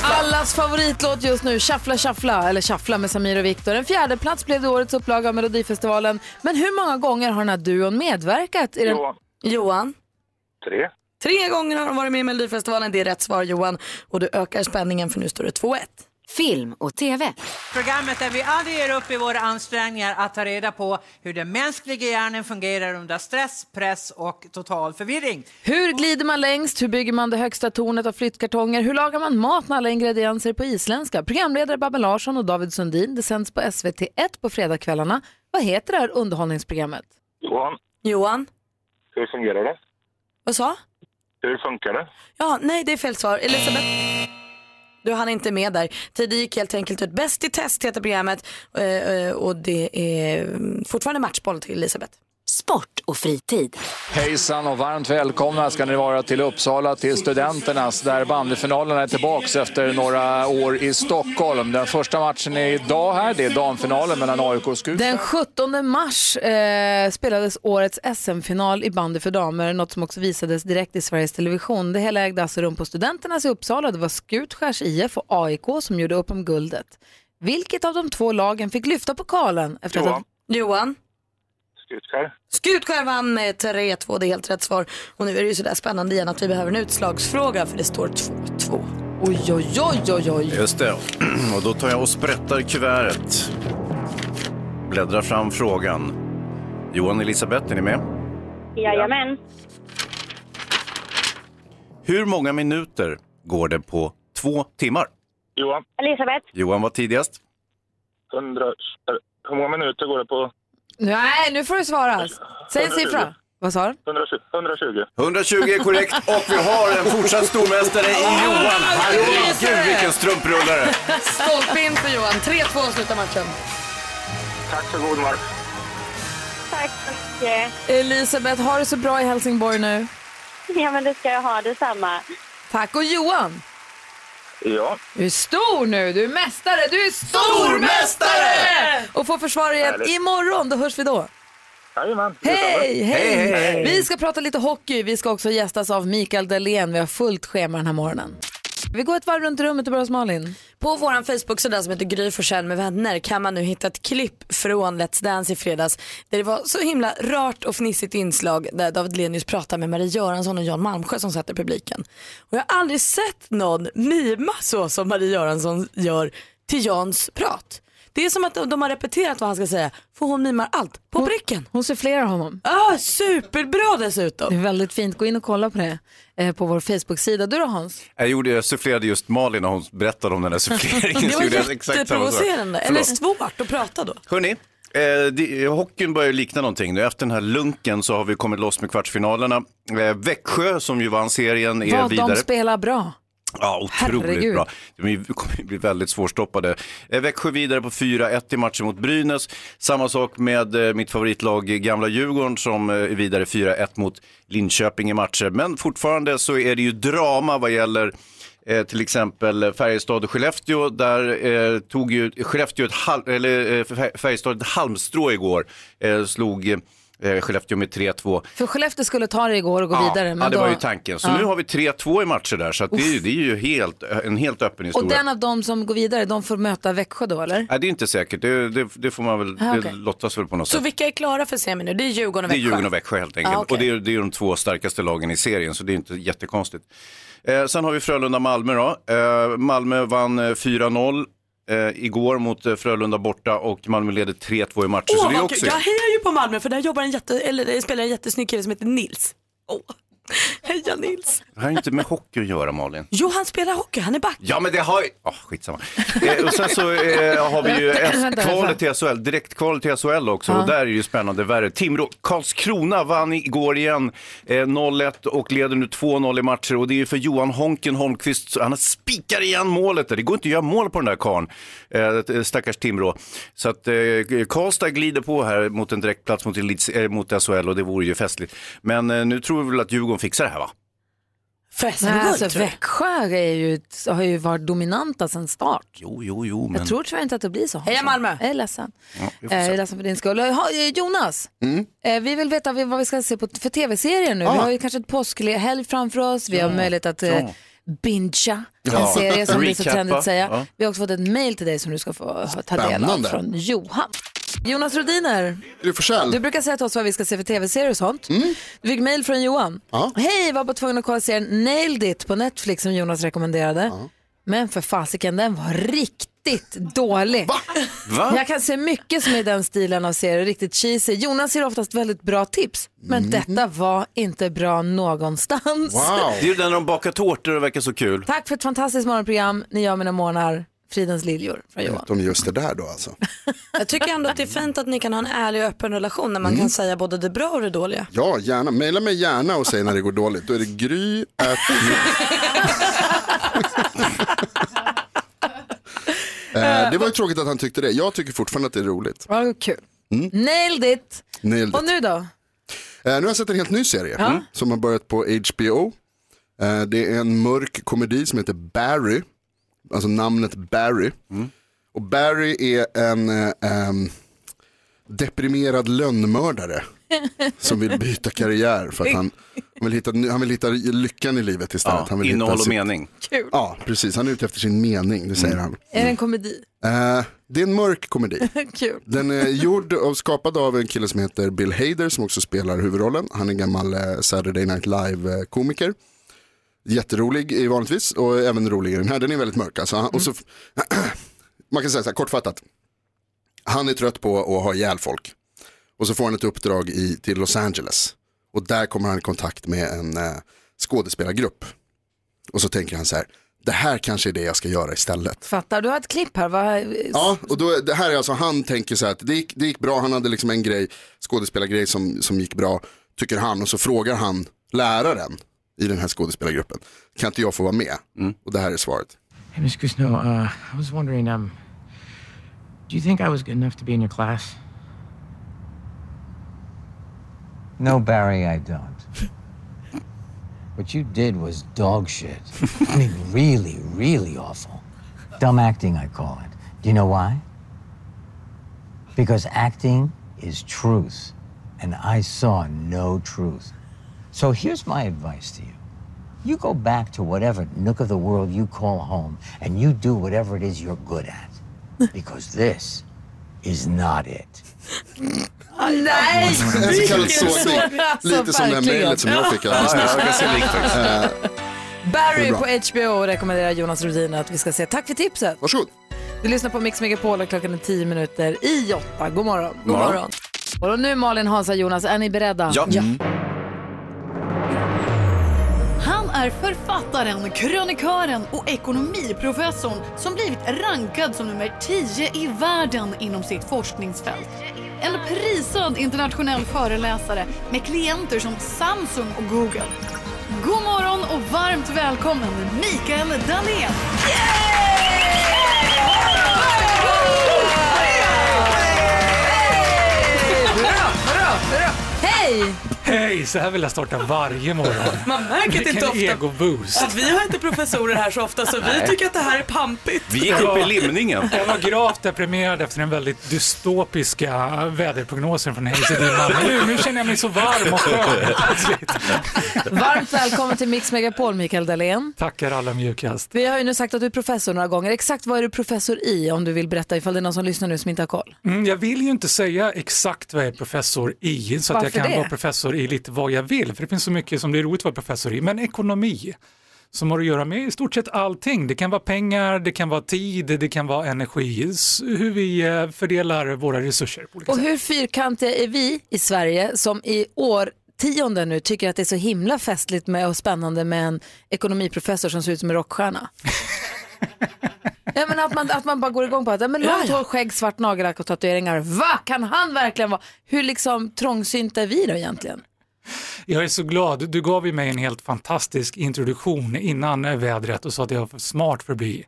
Allas favoritlåt just nu, Shuffla shuffla, eller Shuffla med Samir och Viktor. En fjärde plats blev det i årets upplaga av Melodifestivalen. Men hur många gånger har den här duon medverkat? I den... Johan. Johan? Tre. Tre gånger har de varit med i Melodifestivalen, det är rätt svar Johan. Och du ökar spänningen för nu står det 2-1. Film och TV. Programmet där vi aldrig ger upp i våra ansträngningar att ta reda på hur den mänskliga hjärnan fungerar under stress, press och total förvirring. Hur glider man längst? Hur bygger man det högsta tornet av flyttkartonger? Hur lagar man mat med alla ingredienser på isländska? Programledare Babbel Larsson och David Sundin. Det sänds på SVT1 på fredagskvällarna. Vad heter det här underhållningsprogrammet? Johan, Johan? hur fungerar det? Vad sa? Hur funkar det? Ja, nej det är fel svar. Elisabeth. Du hann inte med där. Tiden gick helt enkelt ut. Bäst i test heter programmet eh, eh, och det är mm, fortfarande matchboll till Elisabeth. Sport och fritid. Hejsan och varmt välkomna ska ni vara till Uppsala till Studenternas där bandyfinalerna är tillbaks efter några år i Stockholm. Den första matchen är idag här, det är damfinalen mellan AIK och Skutskär. Den 17 mars eh, spelades årets SM-final i bandy för damer, något som också visades direkt i Sveriges Television. Det hela ägde alltså rum på Studenternas i Uppsala. Det var Skutskärs IF och AIK som gjorde upp om guldet. Vilket av de två lagen fick lyfta pokalen? Efter Johan. Johan? Skutskär. Skutskär vann med 3-2, det är helt rätt svar. Och nu är det ju sådär spännande igen att vi behöver en utslagsfråga för det står 2-2. Oj, oj, oj, oj, oj. Just det. Och då tar jag och sprättar kuvertet. Bläddrar fram frågan. Johan Elisabeth, är ni med? Jajamän. Hur många minuter går det på två timmar? Johan, Elisabeth? Johan var tidigast. 100... eh, Hur många minuter går det på Nej, nu får du svara. Säg en siffra. Vad sa du? 120? 120. 120 är korrekt och vi har en fortsatt stormästare i Johan. Herregud vilken strumprullare! Stolpe in för Johan. 3-2 slutar matchen. Tack för god match. Tack så mycket. Elisabeth, ha det så bra i Helsingborg nu. Ja, men det ska jag ha. Detsamma. Tack. Och Johan, Ja. du är stor nu. Du är mästare. Du är stormästare! Och får försvara igen Härligt. imorgon. Då hörs vi då. Jajamän. Hej, hej, hej. Vi ska prata lite hockey. Vi ska också gästas av Mikael Dahlén. Vi har fullt schema den här morgonen. Vi går ett varv runt rummet och börjar hos Malin. På vår Facebook-sida som heter Gry Forssell med vänner kan man nu hitta ett klipp från Let's Dance i fredags där det var så himla rart och fnissigt inslag där David Lenius pratade med Marie Göransson och Jan Malmsjö som satt i publiken. Och jag har aldrig sett någon mima så som Marie Göransson gör till Jans prat. Det är som att de de har repeterat vad han ska säga för hon mimar allt på pricken. Hon sufflerar honom. Ah, superbra dessutom. Det är väldigt fint. Gå in och kolla på det eh, på vår Facebook-sida. Du då Hans? Jag, gjorde, jag sufflerade just Malin när hon berättade om den där suffleringen. Det Så var gjorde jag exakt samma sak. jätteprovocerande. Eller Förlåt. svårt att prata då. Hörni, eh, det- hockeyn börjar ju likna någonting nu. Efter den här lunken så har vi kommit loss med kvartsfinalerna. Eh, Växjö som ju vann serien är Vad vidare. de spelar bra. Ja, otroligt Herregud. bra. De är- kommer ju bli väldigt svårstoppade. Eh, Växjö vidare på 4-1 i matchen mot Brynäs. Samma sak med eh, mitt favoritlag eh, gamla Djurgården som eh, är vidare 4-1 mot Linköping i matcher. Men fortfarande så är det ju drama vad gäller eh, till exempel Färjestad och Skellefteå. Där eh, tog ju Skellefteå ett, hal- eller, eh, Fär- Färjestad ett halmstrå igår. Eh, slog eh, Skellefteå med 3-2 För Skellefteå skulle ta det igår och gå vidare. Men ja, det då... var ju tanken. Så Ja. nu har vi 3-2 i matcher där, så att det, är ju, det är ju helt, en helt öppen Och historia. den av dem som går vidare, de får möta Växjö då eller? Nej, det är inte säkert, det, det, det får man väl, Ah, det okej. lottas väl på något Så sätt. vilka är klara för semin nu? Det är Djurgården och Det är Växjö. Djurgården och Växjö helt enkelt. Ah, okej. Och det är, det är de två starkaste lagen i serien, så det är inte jättekonstigt. Eh, sen har vi Frölunda-Malmö då. Eh, Malmö vann eh, 4-0 eh, igår mot eh, Frölunda borta och Malmö leder 3-2 i matcher. så Åh, det är vad också... kul. Jag hejar ju på Malmö för där jobbar en jätte, eller det spelar en jättesnygg kille som heter Nils. Heja Nils! Det här har ju inte med hockey att göra Malin. Jo, han spelar hockey, han är back. Ja men det har ju... Oh, skitsamma. Eh, och sen så eh, har vi ju Vänta, S- kvalet till SHL, direktkvalet till SHL också. Ja. Och där är det ju spännande värre. Timrå, Karlskrona vann igår igen eh, 0-1 och leder nu 2-0 i matcher. Och det är ju för Johan Honken Holmqvist, så han spikar igen målet. där. Det går inte att göra mål på den där karln, eh, stackars Timrå. Så att eh, Karlstad glider på här mot en direktplats mot, Elits, eh, mot SHL och det vore ju festligt. Men eh, nu tror vi väl att Djurgården fixar det här va? Förresten, Nej, guld, alltså, tror jag. Växjö är ju, har ju varit dominanta sedan start. Jo, jo, jo. Men... Jag tror tyvärr inte att det blir så. Heja Malmö! Jag är ledsen. Ja, vi Eh, får Jag se. är ledsen för din skull. Ha, eh, Jonas, Mm. eh, vi vill veta vad vi ska se på t- för tv-serier nu. Ah. Vi har ju kanske ett påskhelg framför oss. Vi har möjlighet att eh, ja. bingea en Ja. serie som det är så Recappa. trendigt att säga. Ja. Vi har också fått ett mail till dig som du ska få eh, ta del av Spännande. från Johan. Jonas Rodiner, Du Forsell. du brukar säga till oss vad vi ska se för tv-serier och sånt. Du fick mail från Johan. Ja. Hej, var bara tvungen att kolla serien Nailed It på Netflix som Jonas rekommenderade. Men för fasiken, den var riktigt dålig. Va? Jag kan se mycket som är i den stilen av serier, riktigt cheesy. Jonas ger oftast väldigt bra tips, men detta var inte bra någonstans. Det är ju den de bakar tårtor och verkar så kul. Tack för ett fantastiskt morgonprogram. Ni gör mina morgnar Fridens liljor från Johan. Utom just det där då alltså. Jag tycker ändå att det är fint att ni kan ha en ärlig och öppen relation när man kan säga både det bra och det dåliga. Ja, gärna. Maila mig gärna och säg när det går dåligt. Då är det gry at... Eh, Det var ju tråkigt att han tyckte det. Jag tycker fortfarande att det är roligt. Ja, det var kul. Mm. Nailed it! Nailed Och nu då? Eh, nu har jag sett en helt ny serie Ja. som har börjat på HBO. Eh, det är en mörk komedi som heter Barry, alltså namnet Barry. Mm. Och Barry är en eh, ehm, deprimerad lönnmördare som vill byta karriär för att han, han, vill, hitta, han vill hitta lyckan i livet istället. Ja, han vill innehåll och hitta mening. Mm. Kul. Ja, precis. Han är ute efter sin mening, det säger han. Är det en komedi? Eh, det är en mörk komedi. Kul. Den är gjord och skapad av en kille som heter Bill Hader som också spelar huvudrollen. Han är en gammal eh, Saturday Night Live-komiker. Jätterolig i vanligtvis och även rolig i den här. Den är väldigt mörk. Alltså. Han- Och så, man kan säga så här kortfattat. Han är trött på att ha ihjäl folk. Och så får han ett uppdrag i, till Los Angeles. Och där kommer han i kontakt med en eh, skådespelargrupp. Och så tänker han så här, det här kanske är det jag ska göra istället. Fattar, du har ett klipp här. Va? Ja, och då, det här är alltså, han tänker så här att det gick, det gick bra, han hade liksom en grej, skådespelargrej som, som gick bra, tycker han, och så frågar han läraren i den här skådespelargruppen, kan inte jag få vara med? Mm. Och det här är svaret. Hey, Miss Cousineau, uh, I was wondering, um, do you think I was good enough to be in your class? No, Barry, I don't. what you did was dog shit. I mean, really, really awful. Dumb acting, I call it. Do you know why? Because acting is truth, and I saw no truth. So here's my advice to you. You go back to whatever nook of the world you call home, and you do whatever it is you're good at. Because this is not it. Nej! En Alltså, så kallad sågning, alltså, lite som det här mejlet som jag fick alldeles Ja, nyss. ja, jag kan se likt Eh, Barry Det på är HBO rekommenderar Jonas Rhodin att vi ska se. Tack för tipset. Varsågod. Du lyssnar på Mix Megapol och klockan är 10 minuter i åtta. God morgon. God morgon. God Och nu Malin, Hansa, Jonas, är ni beredda? Ja. Mm. Han är författaren, krönikören och ekonomiprofessorn som blivit rankad som nummer 10 i världen inom sitt forskningsfält. En prisad internationell föreläsare med klienter som Samsung och Google. God morgon och varmt välkommen Mikael Dahlén! Hej! Hej! Så här vill jag starta varje morgon. Man märker det inte Vilken ofta egoboost. att vi har inte professorer här så ofta så vi Nej. tycker att det här är pampigt. Vi gick upp i limningen. Jag var gravt deprimerad efter den väldigt dystopiska väderprognosen från Hayes i Dimman. Men Nu, nu känner jag mig så varm och skön. Varmt välkommen till Mix Megapol, Mikael Dahlén. Tackar alla mjukast. Vi har ju nu sagt att du är professor några gånger. Exakt vad är du professor i om du vill berätta ifall det är någon som lyssnar nu som inte har koll? Mm, jag vill ju inte säga exakt vad jag är professor i, så att jag Varför kan det? vara professor i lite vad jag vill, för det finns så mycket som det är roligt att vara professor i, men ekonomi som har att göra med i stort sett allting. Det kan vara pengar, det kan vara tid, det kan vara energi, s- hur vi eh, fördelar våra resurser på olika Och hur fyrkantiga är vi i Sverige som i år årtionden nu tycker att det är så himla festligt med och spännande med en ekonomiprofessor som ser ut som en rockstjärna. ja, men att, man, att man bara går igång på att ja, men långt hår, skägg, svart nagellack och tatueringar. Va, kan han verkligen vara? Hur liksom trångsynta är vi då egentligen? Jag är så glad. Du gav ju mig en helt fantastisk introduktion innan vädret och sa att jag var för smart för att bli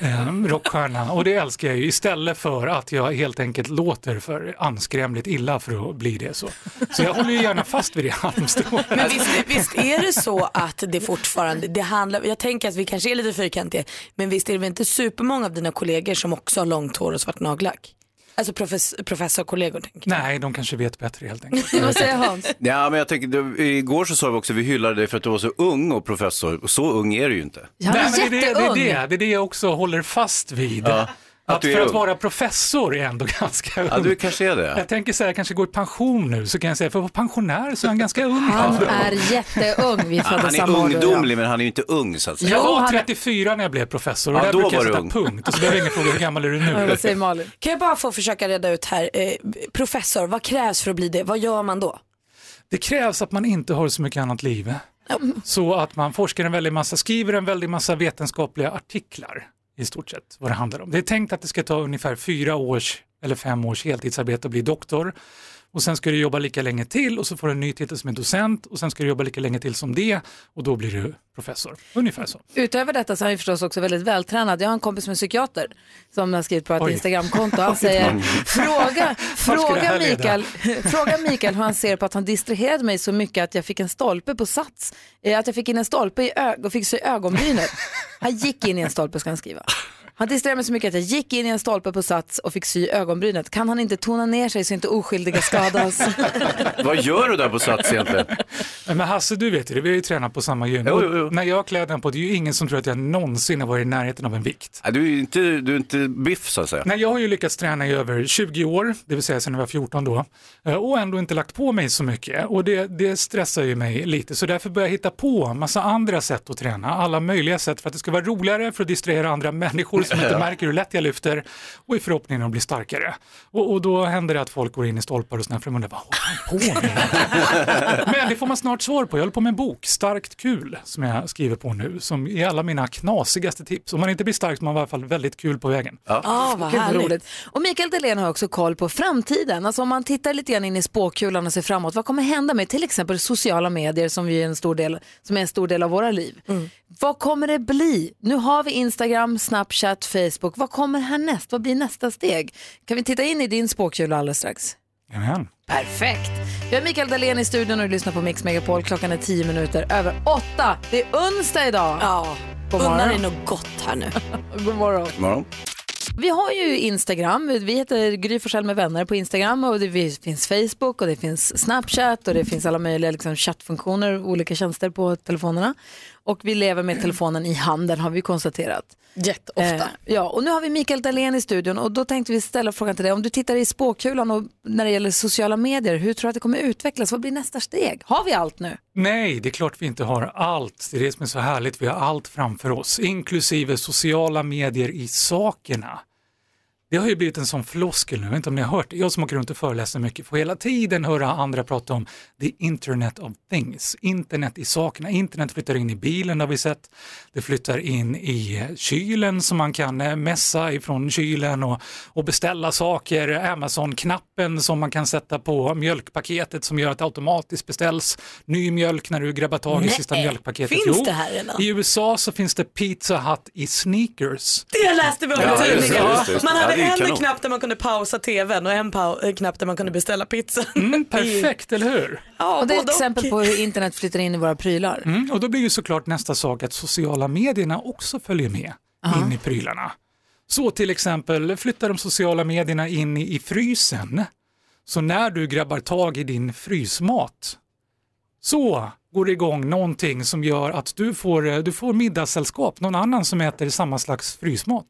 eh, rockstjärna. Och det älskar jag ju istället för att jag helt enkelt låter för anskrämligt illa för att bli det. Så, så jag håller ju gärna fast vid det halmstrået. Men visst, visst är det så att det fortfarande, det handlar, jag tänker att vi kanske är lite fyrkantiga, men visst är det väl inte supermånga av dina kollegor som också har långt hår och svart nagellack? Alltså profess, professorkollegor tänker Nej, de kanske vet bättre helt enkelt. Vad säger Hans? Ja, men jag tänker, det, igår så sa vi också vi hyllade dig för att du var så ung och professor. Och Så ung är du ju inte. Ja, Nej, men det, är det, jätteung. det, är det, det är det jag också håller fast vid. Ja, Att, att du är för att ung. vara professor är ändå ganska ung. Ja, du kanske är det. Jag tänker så här, jag kanske går i pension nu, så kan jag säga, för att vara pensionär så är han ganska ung. Han är jätteung. Vi Han, föddes är samma år du och jag. ungdomlig men han är ju inte ung så att säga. Jag var 34 när jag blev professor och Ja, där då brukar jag var du sätta ung. punkt. Och så behöver ingen fråga hur gammal är du nu. Kan jag bara få försöka reda ut här, eh, professor, vad krävs för att bli det? Vad gör man då? Det krävs att man inte har så mycket annat liv. Så att man forskar en väldig massa, skriver en väldig massa vetenskapliga artiklar i stort sett vad det handlar om. Det är tänkt att det ska ta ungefär fyra års eller fem års heltidsarbete att bli doktor och sen ska du jobba lika länge till och så får du en ny titel som är docent och sen ska du jobba lika länge till som det och då blir du professor. Ungefär så. Utöver detta så är han ju förstås också väldigt vältränad. Jag har en kompis som är psykiater som har skrivit på ett Oj. Instagramkonto. Han Oj. säger, fråga, skulle det fråga, här leda? Mikael, fråga Mikael hur han ser på att han distraherade mig så mycket att jag fick en stolpe på sats. Eh, Att jag fick in en stolpe i ög och fick så i ögonbrynet. Han gick in i en stolpe ska han skriva. Han distraherade mig så mycket att jag gick in i en stolpe på sats och fick sy i ögonbrynet. Kan han inte tona ner sig så inte oskyldiga skadas? Vad gör du där på Sats egentligen? Nej, Men Hasse, du vet ju det, vi har ju tränat på samma gym. Jo, jo, Och När jag klär den på, det är ju ingen som tror att jag någonsin har varit i närheten av en vikt. Nej, du är ju inte, du är inte biff så att säga. Nej, jag har ju lyckats träna i över 20 år, det vill säga sedan jag var 14 då, eh, och ändå inte lagt på mig så mycket. Och det, det stressar ju mig lite, så därför börjar jag hitta på en massa andra sätt att träna, alla möjliga sätt för att det ska vara roligare, för att distrahera andra människor som inte Ja. märker hur lätt jag lyfter, och i förhoppningen att bli starkare. Och, och då händer det att folk går in i stolpar och sådär, för de undrar vad håller han på med? Men det får man snart svar på. Jag håller på med en bok, Starkt kul, som jag skriver på nu, som är alla mina knasigaste tips. Om man inte blir stark så har man i alla fall väldigt kul på vägen. Ah, Ja, vad härligt. Och Mikael Dahlén har också koll på framtiden. Alltså om man tittar lite grann in i spåkulan och ser framåt, vad kommer hända med till exempel sociala medier som, vi är, en stor del, som är en stor del av våra liv? Mm. Vad kommer det bli? Nu har vi Instagram, Snapchat, Facebook. Vad kommer härnäst? Vad blir nästa steg? Kan vi titta in i din spåkula alldeles strax? Jajamän. Perfekt. Vi har Mikael Dahlén i studion och du lyssnar på Mix Megapol. Klockan är tio minuter över åtta. Det är onsdag idag. Ja, Unna dig något gott här nu. God morgon. Morgon. Vi har ju Instagram, vi heter Gry Forssell med vänner på Instagram och det vi- finns Facebook och det finns Snapchat och det finns alla möjliga liksom, chattfunktioner, olika tjänster på telefonerna. Och vi lever med telefonen i handen har vi konstaterat. Jätteofta. Eh, ja, och nu har vi Mikael Dahlén i studion och då tänkte vi ställa frågan till dig, om du tittar i spåkulan och när det gäller sociala medier, hur tror du att det kommer utvecklas? Vad blir nästa steg? Har vi allt nu? Nej, det är klart vi inte har allt. Det är det som är så härligt. Vi har allt framför oss, inklusive sociala medier i sakerna. Det har ju blivit en sån floskel nu, jag vet inte om ni har hört det. Jag som åker runt och föreläser mycket får hela tiden höra andra prata om the internet of things, internet i sakerna. Internet flyttar in i bilen har vi sett, det flyttar in i kylen som man kan eh, mässa ifrån kylen och, och beställa saker, Amazon-knappen som man kan sätta på mjölkpaketet som gör att det automatiskt beställs ny mjölk när du grabbar tag i Nej, sista mjölkpaketet. finns det här redan? I USA så finns det Pizza Hut i sneakers. Det läste vi om Ja, i just det, tidningen. just det, just det. Man hade Ja, det är en kanon. knapp där man kunde pausa tvn och en pau- eh, knapp där man kunde beställa pizza. Mm, perfekt, eller hur? Ja, och det är ett både och. exempel på hur internet flyttar in i våra prylar. Mm, och då blir ju såklart nästa sak att sociala medierna också följer med in i prylarna. Så till exempel flyttar de sociala medierna in i, i frysen. Så när du grabbar tag i din frysmat så går det igång någonting som gör att du får, eh, du får middagssällskap, någon annan som äter samma slags frysmat.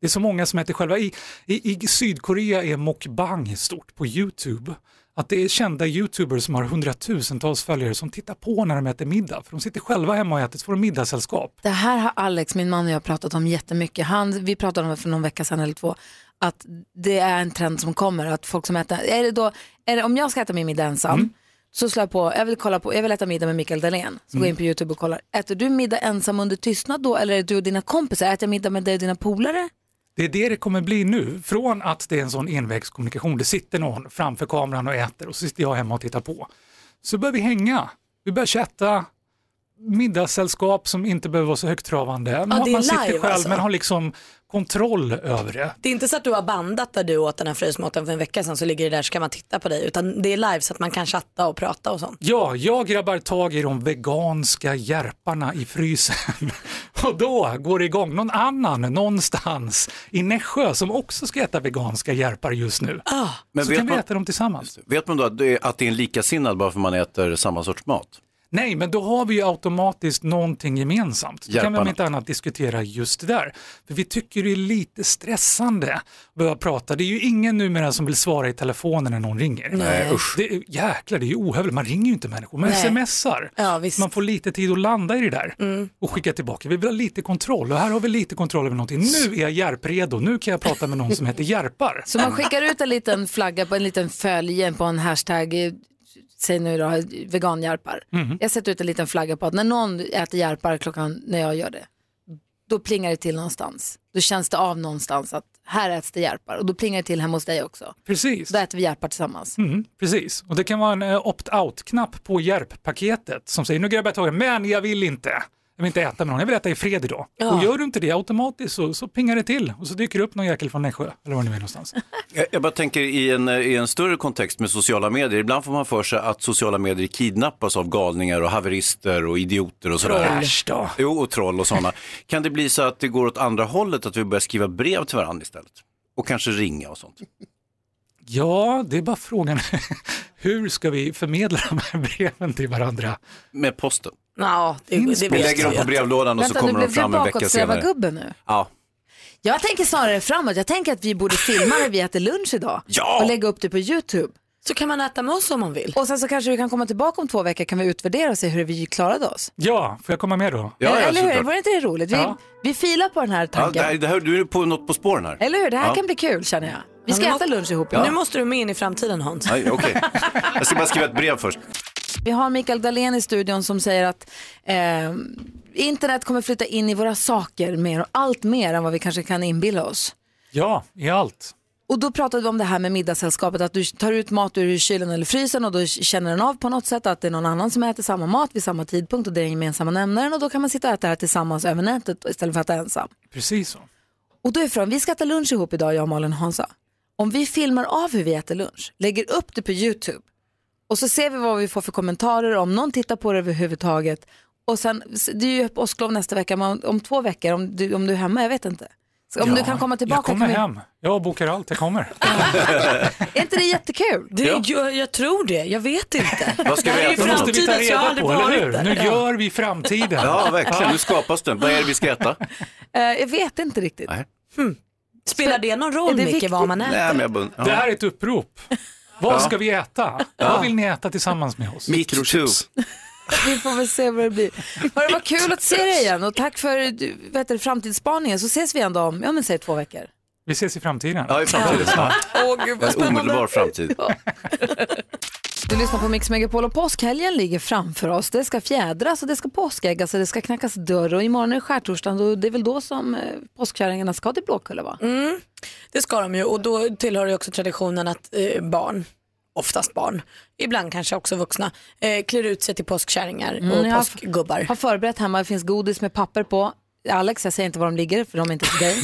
Det är så många som äter själva. I, i, i Sydkorea är mukbang stort på YouTube. Att det är kända YouTubers som har hundratusentals följare som tittar på när de äter middag. För de sitter själva hemma och äter, så får de middagssällskap. Det här har Alex, min man och jag pratat om jättemycket. Han, vi pratade om det för någon vecka sedan eller två. Mm. Att det är en trend som kommer, att folk som äter, är det då, är det, om jag ska äta min middag ensam, så slår jag på, jag vill, kolla på, jag vill äta middag med Mikael Dahlén. Så går jag in på Mm. YouTube och kollar, äter du middag ensam under tystnad då eller är det du och dina kompisar? Äter jag middag med dig och dina polare? Det är det det kommer bli nu, från att det är en sån envägskommunikation, det sitter någon framför kameran och äter och så sitter jag hemma och tittar på. Så börjar vi hänga, vi börjar chatta, middagssällskap som inte behöver vara så högtravande. man det är man sitter live själv alltså. men har liksom kontroll över det. Det är inte så att du har bandat där du åt den här frysmaten för en vecka sedan så ligger det där så kan man titta på dig utan det är live så att man kan chatta och prata och sånt. Ja, jag grabbar tag i de veganska järparna i frysen och då går det igång. Någon annan någonstans i Nässjö som också ska äta veganska järpar just nu. Men så vet kan man- vi äta dem tillsammans. Vet man då att det, är, att det är en likasinnad bara för man äter samma sorts mat? Nej, men då har vi ju automatiskt någonting gemensamt. Då kan vi om Hjälparna. inte annat diskutera just det där. För vi tycker det är lite stressande att börja prata. Det är ju ingen numera som vill svara i telefonen när någon ringer. Nej, usch. Det, är- jäklar, det är ju ohövligt. Man ringer ju inte människor, man Nej. Mm. smsar. Man får lite tid att landa i det där och skicka tillbaka. Vi vill ha lite kontroll och här har vi lite kontroll över någonting. Nu är jag järpredo, nu kan jag prata med någon som heter järpar. Så man skickar ut en liten flagga på en liten följe på en hashtag, eh, säg nu då veganjärpar. Mhm. Jag sätter ut en liten flagga på att när någon äter järpar klockan när jag gör det, då plingar det till någonstans. Då känns det av någonstans att här äts det järpar och då plingar det till hemma hos dig också. Precis. Då äter vi järpar tillsammans. Mm, precis, och det kan vara en eh, opt-out-knapp på hjälppaketet som säger nu grabbar jag taget, men jag vill inte. Jag vill inte äta med någon, jag vill äta i fred idag. Ja. Och gör du inte det automatiskt så, så pingar det till och så dyker det upp någon jäkel från Nässjö eller var det nu är någonstans. Jag, jag bara tänker i en, eh, i en större kontext med sociala medier. Ibland får man för sig att sociala medier kidnappas av galningar och haverister och idioter och sådär. Troll. Äsch då. Jo, och troll och sådana. kan det bli så att det går åt andra hållet, att vi börjar skriva brev till varandra istället? Och kanske ringa och sånt. Ja, det är bara frågan hur ska vi förmedla de här breven till varandra? Med posten. Ja, det, Finns Vi lägger dem på brevlådan och så kommer de fram en Vänta, nu blev vecka du senare. bakåtsträvargubben nu. Ja, Jag tänker snarare framåt. Jag tänker att vi borde filma när vi äter lunch idag Ja! och lägga upp det på YouTube. Så kan man äta med oss om man vill. Och sen så kanske vi kan komma tillbaka om två veckor kan vi utvärdera och se hur vi klarade oss. Ja, får jag komma med då? eller eller hur? Var inte det roligt? Vi, Ja. vi filar på den här ja tanken. det här, det här, du är på något på spåren här. Eller hur? Det här Ja. kan bli kul känner jag. Vi ska Ja, nu äta må- lunch ihop. Ja. Nu måste du med in i framtiden Hans. Nej, okej. Jag ska bara skriva ett brev först. Vi har Mikael Dahlén i studion som säger att eh, internet kommer flytta in i våra saker mer och allt mer än vad vi kanske kan inbilla oss. Ja, i allt. Och då pratade vi om det här med middagssällskapet, att du tar ut mat ur kylen eller frysen och då känner den av på något sätt att det är någon annan som äter samma mat vid samma tidpunkt och det är den gemensamma nämnaren och då kan man sitta och äta det här tillsammans över nätet istället för att äta ensam. Precis så. Och då är frågan, vi ska äta lunch ihop idag, jag och Malin och Hansa. Om vi filmar av hur vi äter lunch, lägger upp det på YouTube och så ser vi vad vi får för kommentarer, om någon tittar på det överhuvudtaget. Och sen, det är ju påsklov nästa vecka, men om två veckor, om du, om du är hemma, jag vet inte. Så om ja, du kan komma tillbaka. Jag kommer kan vi- hem. Jag bokar allt, jag kommer. Är inte det jättekul? Det, Ja. jag, jag tror det, jag vet inte. Vad ska vi Det här är äta? ju Då måste vi framtiden, ta så jag har reda aldrig på, eller varit hur? där. Nu Ja. gör vi framtiden. Ja, verkligen. Nu skapas den. Vad är det vi ska äta? Eh, jag vet inte riktigt. Nej. Spelar det någon roll Är det Micke viktigt? vad man äter? Nej, men jag bun- ja. Det här är ett upprop. Vad Ja. ska vi äta? Ja. Vad vill ni äta tillsammans med oss? Mikrochips. Vi får väl se vad det blir. Hörru, vad kul att se dig igen och tack för du, vad heter det, framtidsspaningen så ses vi ändå om, ja men säg två veckor. Vi ses i framtiden. Ja, i framtiden. Ja. Åh, gud, vad En spännande. omedelbar framtid. Du lyssnar på Mix Megapol och påskhelgen ligger framför oss. Det ska fjädras och det ska påskäggas och det ska knackas dörr och imorgon är det skärtorsdagen och det är väl då som eh, påskkärringarna ska till Blåkulla va? Mm, det ska de ju och då tillhör det också traditionen att eh, barn, oftast barn, ibland kanske också vuxna, eh, klär ut sig till påskkärringar Mm, och jag har- påskgubbar. Har förberett hemma, det finns godis med papper på. Alex, jag säger inte var de ligger för de är inte till dig.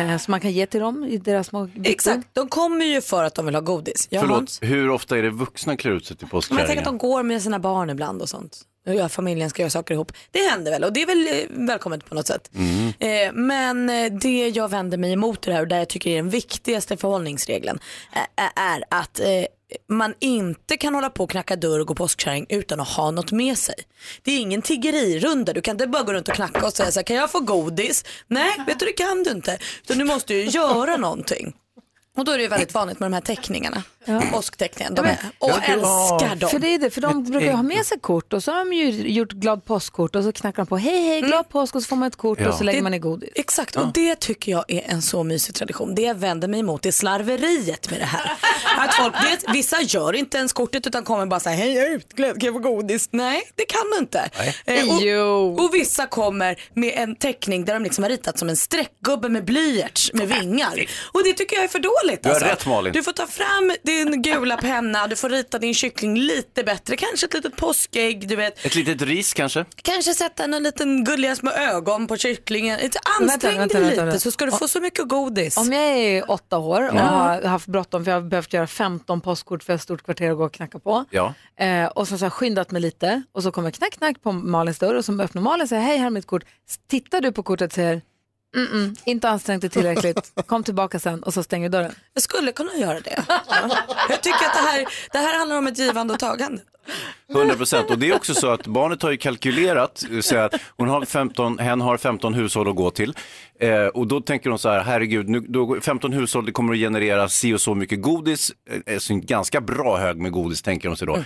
eh, så man kan ge till dem i deras små byxor. Exakt, de kommer ju för att de vill ha godis. Jag, har, Förlåt, hur ofta är det vuxna klär ut sig till men jag tänker att påskkärringar? de går med sina barn ibland och sånt. Och jag och familjen ska göra saker ihop. Det händer väl och det är väl eh, välkommet på något sätt. Mm. Eh, men eh, det jag vänder mig emot i det här och där jag tycker är den viktigaste förhållningsregeln eh, eh, är att eh, man inte kan hålla på och knacka dörr och gå påskkärring utan att ha något med sig. Det är ingen tiggerirunda, du kan inte bara gå runt och knacka och säga så här, kan jag få godis? Nej, vet du det kan du inte. Utan du måste ju göra någonting. Och då är det ju väldigt vanligt med de här teckningarna. Påsktecknen. De är, och älskar dem. För det är det, för de brukar ju ha med sig kort och så har de ju gjort glad påskkort och så knackar de på hej hej glad påsk och så får man ett kort och så lägger Mm. Det- man i godis. Exakt, och det tycker jag är en så mysig tradition. Det jag vänder mig emot är slarveriet med det här. Att folk, det, vissa gör inte ens kortet utan kommer bara säga hej jag är utglömd, kan jag få godis? Nej, det kan du inte. Eh, och, och vissa kommer med en teckning där de liksom har ritat som en streckgubbe med blyerts med vingar. Och det tycker jag är för dåligt. Du har alltså. rätt, Malin. Du får ta fram din gula penna, du får rita din kyckling lite bättre, kanske ett litet påskägg, du vet. Ett litet ris kanske? Kanske sätta en liten gulliga små ögon på kycklingen. Inte Vänta, Ansträng vänta, dig vänta, lite vänta. så ska du få så mycket godis. Om jag är åtta år och Ja. har haft bråttom för jag har behövt göra 15 postkort för ett stort kvarter att gå och knacka på. Ja. Eh, och så, så har jag skyndat mig lite och så kommer knack knack på Malins dörr och så öppnar Malin och säger hej här är mitt kort. S- Tittar du på kortet och säger Mm-mm, inte ansträngt dig tillräckligt, kom tillbaka sen och så stänger du dörren. Jag skulle kunna göra det. Jag tycker att det här, det här handlar om ett givande och tagande. 100 procent. Och det är också så att barnet har ju kalkylerat, eh, så att hon har 15, hen har 15 hushåll att gå till. Eh, och då tänker hon så här, herregud, nu, då, går- 15 hushåll, det kommer att generera si och så mycket godis, eh, alltså en ganska bra hög med godis tänker hon sig då.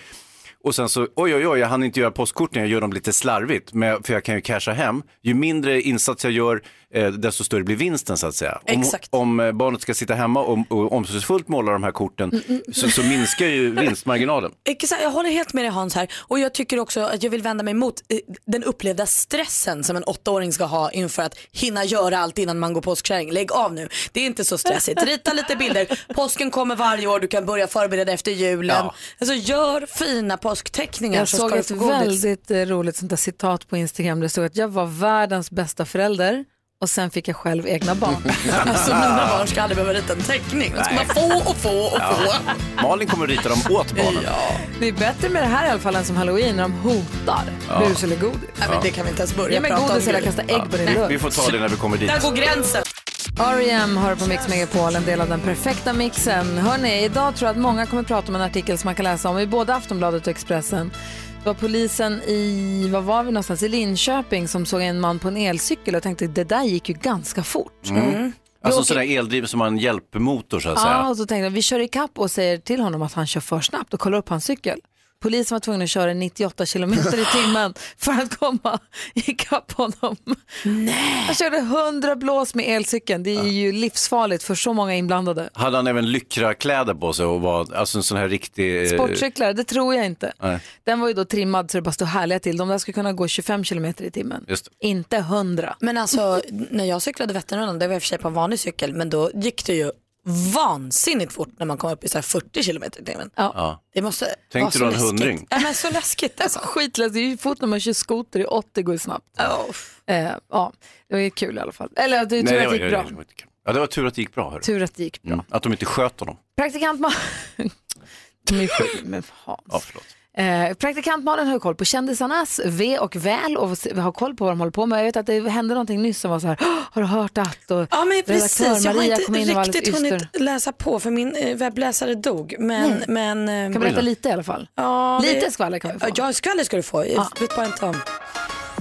Och sen så, oj oj oj, jag hann inte göra postkorten, jag gör dem lite slarvigt, men, för jag kan ju casha hem. Ju mindre insats jag gör, eh, desto större blir vinsten så att säga. Om, Exakt. om eh, barnet ska sitta hemma och, och omsorgsfullt måla de här korten, så, så minskar ju vinstmarginalen. Exakt, jag håller helt med dig Hans här och jag tycker också att jag vill vända mig mot eh, den upplevda stressen som en åttaåring ska ha inför att hinna göra allt innan man går påskkärring. Lägg av nu, det är inte så stressigt. Rita lite bilder, påsken kommer varje år, du kan börja förbereda efter julen. Ja. Alltså gör fina påskteckningar Jag så såg ska du ett få godis. väldigt eh, roligt sånt där citat på Instagram där det stod att jag var världens bästa förälder och sen fick jag själv egna barn. Alltså mina barn ska aldrig behöva rita en teckning, de ska Nej. bara få och få och få. Ja. Malin kommer att rita dem åt barnen. Det är bättre med det här i alla fall än som halloween när de hotar Ja. bus eller godis. Nej, men det kan vi inte ens börja Ge mig prata om godis eller grejer. kasta ägg på din Ja. lunch. Vi får ta det när vi kommer dit. Där går gränsen. R.E.M. hör E på Mix Megapol, en del av den perfekta mixen. Hörrni, idag tror jag att många kommer prata om en artikel som man kan läsa om i både Aftonbladet och Expressen. Det var polisen i, vad var vi någonstans, i Linköping som såg en man på en elcykel och tänkte det där gick ju ganska fort. Mm. Alltså sån där eldriven som har en hjälpmotor så att Ja, säga. och så tänkte jag, vi kör i kapp och säger till honom att han kör för snabbt och kollar upp hans cykel. Polisen var tvungen att köra 98 kilometer i timmen för att komma i kapp honom. Nej. Han körde 100 blås med elcykeln. Det är ju livsfarligt för så många inblandade. Hade han även lycrakläder på sig och var alltså en sån här riktig... eh, Sportcyklar, det tror jag inte. Nej, Den var ju då trimmad så det bara stod härliga till. De där skulle kunna gå 25 kilometer i timmen. just det. Inte 100. Men alltså när jag cyklade Vätternrundan, det var i och för sig på en vanlig cykel, men då gick det ju vansinnigt fort när man kom upp i så här 40 kilometer i timmen. Ja. Det måste vara så Tänkte du ha en läskigt. hundring? Ja, men så läskigt alltså. Skitläskigt, det är ju fort när man kör skoter i 80 går ju snabbt. Eh, ja, det var ju kul i alla fall. Eller det är tur Nej, att det gick bra. var inte kul. Ja, det var tur att det gick bra. Hörru. Tur att det gick bra. Mm. Att de inte sköt honom. Praktikant Malin... med Hans. Ja, förlåt. Eh, praktikant Malin har ju koll på kändisarnas ve och väl och s- har koll på vad de håller på med. Jag vet att det hände någonting nyss som var så här, "Åh, har du hört att? Och Ja men precis, jag har Maria inte kom in och var alldeles riktigt hunnit yster. läsa på för min eh, webbläsare dog. Men, Nej. men, eh, Kan berätta lite i alla fall. Ja, det- lite skvaller kan vi få. Ja, Ja, skvaller ska du få. Jag Vet bara inte om.